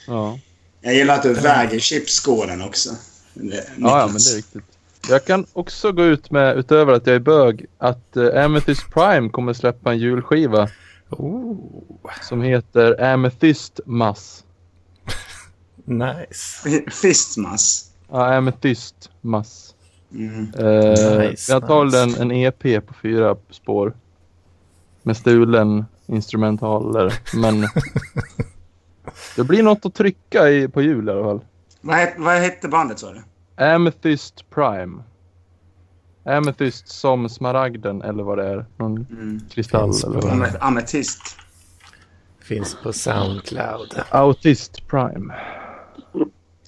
Speaker 5: Ja.
Speaker 3: Jag gillar att du väger chipsskålen också. Det-
Speaker 5: Ja, ja, men
Speaker 3: Niklas.
Speaker 5: det är riktigt. Jag kan också gå ut med, utöver att jag är bög, att eh, Amethyst Prime kommer släppa en julskiva
Speaker 1: Oh,
Speaker 5: som heter Amethyst Mass.
Speaker 1: nice.
Speaker 3: F- Fistmass.
Speaker 5: Ja, Amethyst Mass.
Speaker 3: Mm.
Speaker 5: Eh,
Speaker 1: Nice,
Speaker 5: det är antagligen
Speaker 1: nice.
Speaker 5: en EP på fyra spår. Med stulen instrumentaler. Men det blir något att trycka i, på jul i alla fall.
Speaker 3: Vad, het, vad hette bandet sa du?
Speaker 5: Amethyst Prime. Amethyst som smaragden eller vad det är. Någon
Speaker 3: Mm.
Speaker 5: kristall
Speaker 1: Finns
Speaker 5: eller
Speaker 1: på-
Speaker 5: vad.
Speaker 3: Am- Ametist.
Speaker 1: Finns på Soundcloud.
Speaker 5: Autist Prime.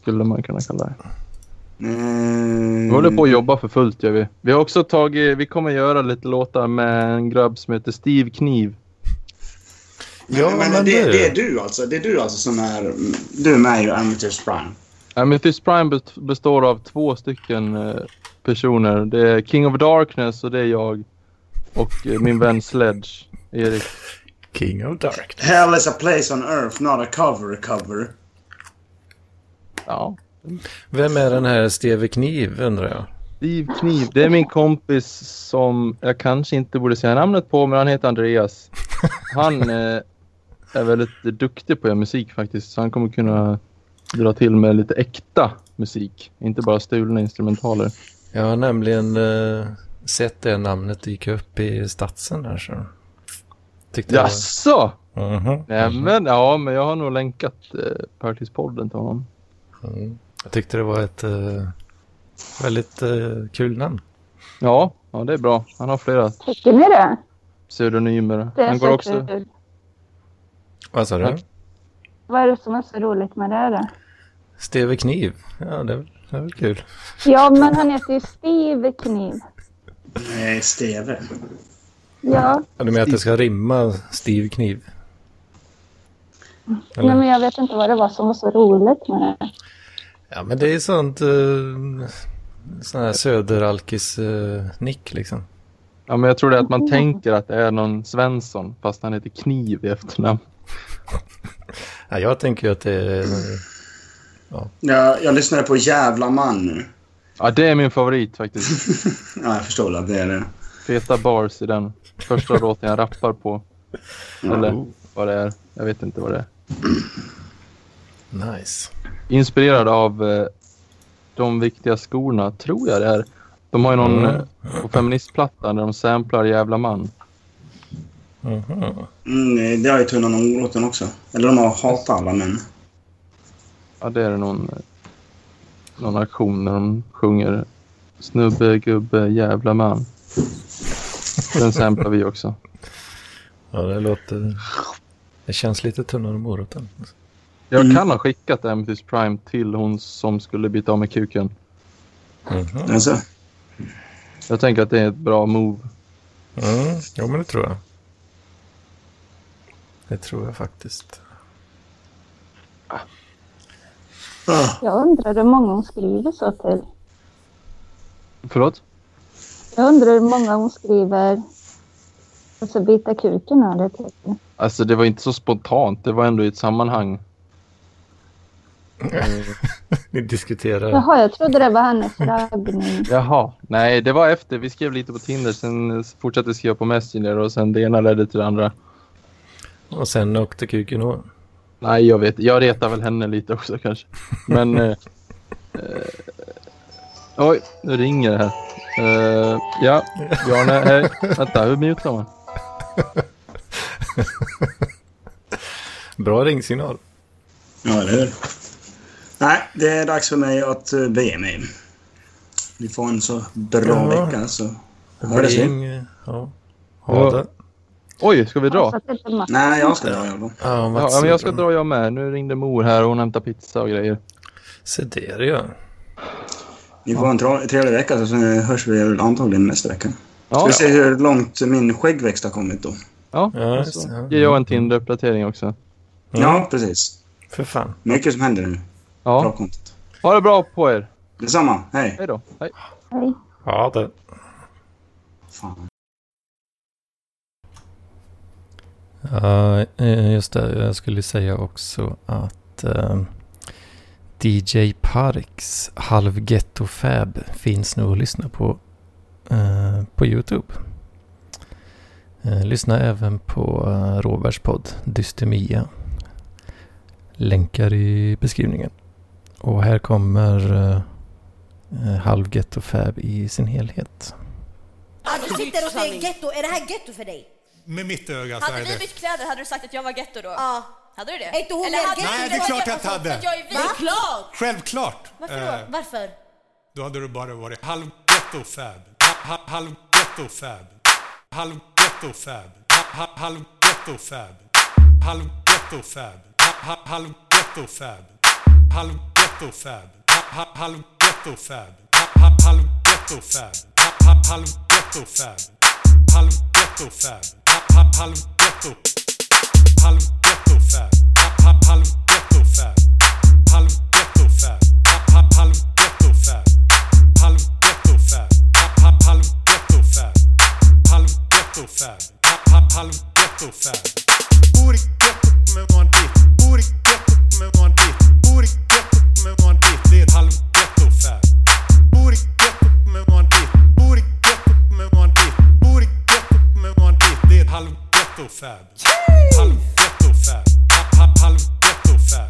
Speaker 5: Skulle man kunna kalla det.
Speaker 3: Mm.
Speaker 5: Vi håller på att jobba för fullt gör vi. Vi har också tagit, vi kommer göra lite låtar med en grabb som heter Steve Kniv.
Speaker 1: Ja,
Speaker 3: Eh, men,
Speaker 1: men
Speaker 3: det,
Speaker 1: du.
Speaker 3: det är du alltså. Det är du alltså som är... Du är med i Amateurs Prime.
Speaker 5: Amethyst Prime best- består av två stycken eh, personer. Det är King of Darkness och det är jag. Och eh, min vän Sledge, Erik.
Speaker 1: King of Dark.
Speaker 3: Hell is a place on earth, not a cover cover.
Speaker 5: Ja.
Speaker 1: Vem är den här Steve Kniv undrar jag?
Speaker 5: Steve Kniv, det är min kompis som jag kanske inte borde säga namnet på, men han heter Andreas. Han eh, är väldigt duktig på att göra musik faktiskt, så han kommer kunna dra till med lite äkta musik. Inte bara stulna instrumentaler.
Speaker 1: Jag har nämligen eh, sett det namnet dyka upp i statsen här. Så. Tyckte
Speaker 5: Jaså?
Speaker 1: jag. Mhm.
Speaker 5: Nämen, ja, men jag har nog länkat eh, Partyspodden till honom.
Speaker 1: Mm. Jag tyckte det var ett eh, väldigt eh, kul namn.
Speaker 5: Ja, ja, det är bra. Han har flera
Speaker 4: Tycker ni det?
Speaker 5: pseudonymer.
Speaker 4: Det är
Speaker 5: Han går
Speaker 4: så
Speaker 5: också...
Speaker 4: kul.
Speaker 1: Vad sa du?
Speaker 5: Tack.
Speaker 4: Vad är det som är så roligt med det då?
Speaker 1: Steve Kniv. Ja, det, det var kul.
Speaker 4: Ja, men han heter ju Steve Kniv.
Speaker 3: Nej, Eh, Steve.
Speaker 4: Ja,
Speaker 1: Ja, Du menar att det ska rimma Steve Kniv?
Speaker 4: nej, men jag vet inte vad det var som var så roligt med det.
Speaker 1: Ja, men det är sånt eh, Sån här söderalkis-nick liksom.
Speaker 5: Ja, men jag tror det är att man tänker att det är någon Svensson fast han heter Kniv i efternamn.
Speaker 1: Ja, jag tänker ju att det är...
Speaker 3: Jag, jag lyssnade på Jävla man nu.
Speaker 5: Ja, det är min favorit faktiskt.
Speaker 3: Ja, jag förstår väl att det är det.
Speaker 5: Feta bars i den första låten jag rappar på. Eller vad det är. Jag vet inte vad det är.
Speaker 1: Nice.
Speaker 5: Inspirerad av eh, De viktiga skorna, tror jag det är. De har ju någon
Speaker 1: Mm.
Speaker 5: eh, på feministplattan där de samplar Jävla man.
Speaker 1: Mhm.
Speaker 3: Mm, det har ju Tunnan och Moroten också. Eller de har Hata alla män.
Speaker 5: Ja, det är någon, eh, någon aktion när de sjunger Snubbe, gubbe, jävla man. Den samplar vi också.
Speaker 1: Ja, det låter... Det känns lite tunnare än moroten.
Speaker 5: Jag
Speaker 3: Mm.
Speaker 5: kan ha skickat Amethyst Prime till hon som skulle byta av med kuken.
Speaker 1: Mhm.
Speaker 3: Alltså,
Speaker 5: Jag tänker att det är ett bra move.
Speaker 1: Mm, jo, men det tror jag. Det tror jag faktiskt.
Speaker 3: ah,
Speaker 4: Jag undrar hur många hon skriver så till.
Speaker 5: Förlåt?
Speaker 4: Jag undrar hur många hon skriver. Och så bita kuken av det till.
Speaker 5: Alltså det var inte så spontant. Det var ändå i ett sammanhang. Eh,
Speaker 1: Ni diskuterar.
Speaker 4: Jaha, jag trodde det var hennes raggning.
Speaker 5: Jaha. Nej, det var efter. Vi skrev lite på Tinder. Sen eh, fortsatte skriva på Messenger och sen det ena ledde till det andra.
Speaker 1: Och sen åkte kuken och...
Speaker 5: Nej, jag vet. Jag retar väl henne lite också kanske. Men... eh, eh, oj, nu ringer det här. Eh, ja, Bjarne. Hej. Vänta, hur mutar man?
Speaker 1: Bra ringsignal.
Speaker 3: ja, eller hur? Nej, det är dags för mig att eh, bege mig. Ni får en så bra
Speaker 1: Ja.
Speaker 3: vecka så hörs vi.
Speaker 1: Ring, eh, Ja. Ha
Speaker 5: Ja.
Speaker 1: det.
Speaker 5: Oj, ska vi dra?
Speaker 4: Så att det inte Mats-
Speaker 3: Nej, jag ska dra i alla fall.
Speaker 1: Ja,
Speaker 5: Ja,
Speaker 1: Mats
Speaker 5: men jag ska
Speaker 1: Sundgren.
Speaker 5: dra jag med. Nu ringde mor här och hon hämtar pizza och grejer.
Speaker 1: Se där ja.
Speaker 3: Ni får en tra- trevlig vecka så- så hörs vi väl antagligen nästa vecka.
Speaker 5: Ja,
Speaker 3: Vi ser hur långt min skäggväxt har kommit då.
Speaker 5: ja.
Speaker 1: Ja,
Speaker 5: och
Speaker 1: just det, ja.
Speaker 5: så ger jag en Tinder-uppdatering också.
Speaker 1: Mm.
Speaker 3: Ja, precis.
Speaker 1: För fan.
Speaker 3: Mycket som händer nu. Bra
Speaker 5: Ja,
Speaker 3: kontot.
Speaker 5: ha det bra på er.
Speaker 3: Detsamma. Hej.
Speaker 5: Hej då. Hej.
Speaker 4: Nej.
Speaker 1: Ja, det.
Speaker 3: Fan.
Speaker 1: Ja, eh, just det. Jag skulle säga också att eh, DJ Parks Halv Ghetto Fab finns nu att lyssna på eh, på YouTube. Eh, lyssna även på eh, Roberts podd Dystemia. Länkar i beskrivningen. Och här kommer eh, eh, Halv Ghetto Fab i sin helhet.
Speaker 7: Ja, du sitter och säger getto. Är det här getto för dig?
Speaker 8: Med mitt öga så
Speaker 9: Hade
Speaker 8: är
Speaker 9: vi
Speaker 8: det...
Speaker 9: bytt kläder hade du sagt att jag var getto då?
Speaker 7: Ja.
Speaker 9: Hade du det?
Speaker 7: Är inte hon mer
Speaker 9: hade
Speaker 7: getto?
Speaker 9: du
Speaker 8: Nej, det är
Speaker 9: varit
Speaker 8: klart jag
Speaker 9: getto
Speaker 8: inte hade.
Speaker 9: för att Jag är vit.
Speaker 7: Det är klart!
Speaker 8: Självklart!
Speaker 7: Varför då?
Speaker 8: Eh,
Speaker 7: Varför?
Speaker 8: då hade du bara varit halv ghetto fab. Ha- ha- Halv ghetto fab. Halv ghetto fab. Ha- ha- Halv ghetto fab. Halv ghetto fab. Ha- ha- Halv ghetto fab. Halv ghetto fab. Ha- ha- Halv ghetto fab. Ha- ha- Halv ghetto fab. Ha- ha- Halv ghetto fab. Halv ghetto fab. Ha- ha- Halv ghetto Halv ghetto fab. Ha- ha- Halv ghetto fab. Halv ghetto fab. Ha- ha- Halv ghetto fab. Halv ghetto fab. Ha- ha- Halv ghetto fab. Halv ghetto fab. Ha- ha- Halv ghetto fab. Bor i gettot men har en bil. Bor i gettot men har en bil. Bor i gettot men har en bil. Det är ett halv ghetto fab. Bor i gettot men har en bil. Bor i gettot men har en bil. Bor i gettot men har en bil. Det är ett halv ghetto fab. Halv ghetto fab. Ha- ha- Halv ghetto fab.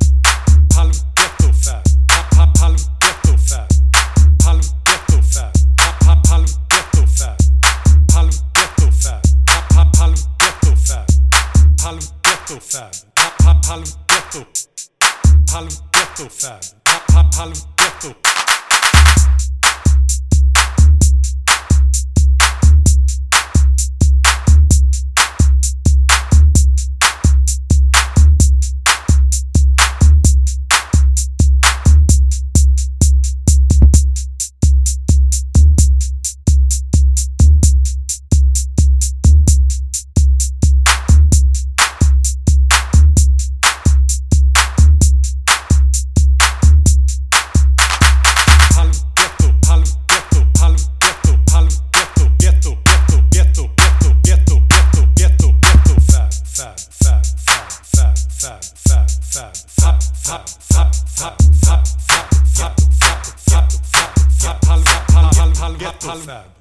Speaker 8: Halv ghetto fab. Ha- ha- Halv ghetto fab. Halv ghetto fab. Ha- ha- Halv ghetto fab. Halv ghetto fab. Ha- ha- Halv ghetto fab. Halv ghetto fab. Ha- ha- Halv ghetto. Halv ghetto fab. Ha- ha- Halv ghetto. halv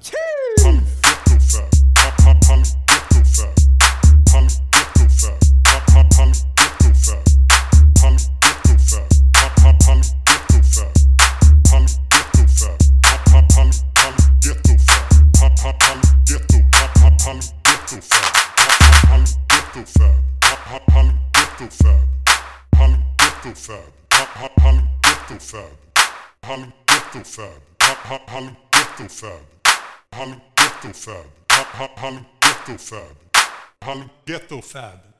Speaker 8: ghetto fab.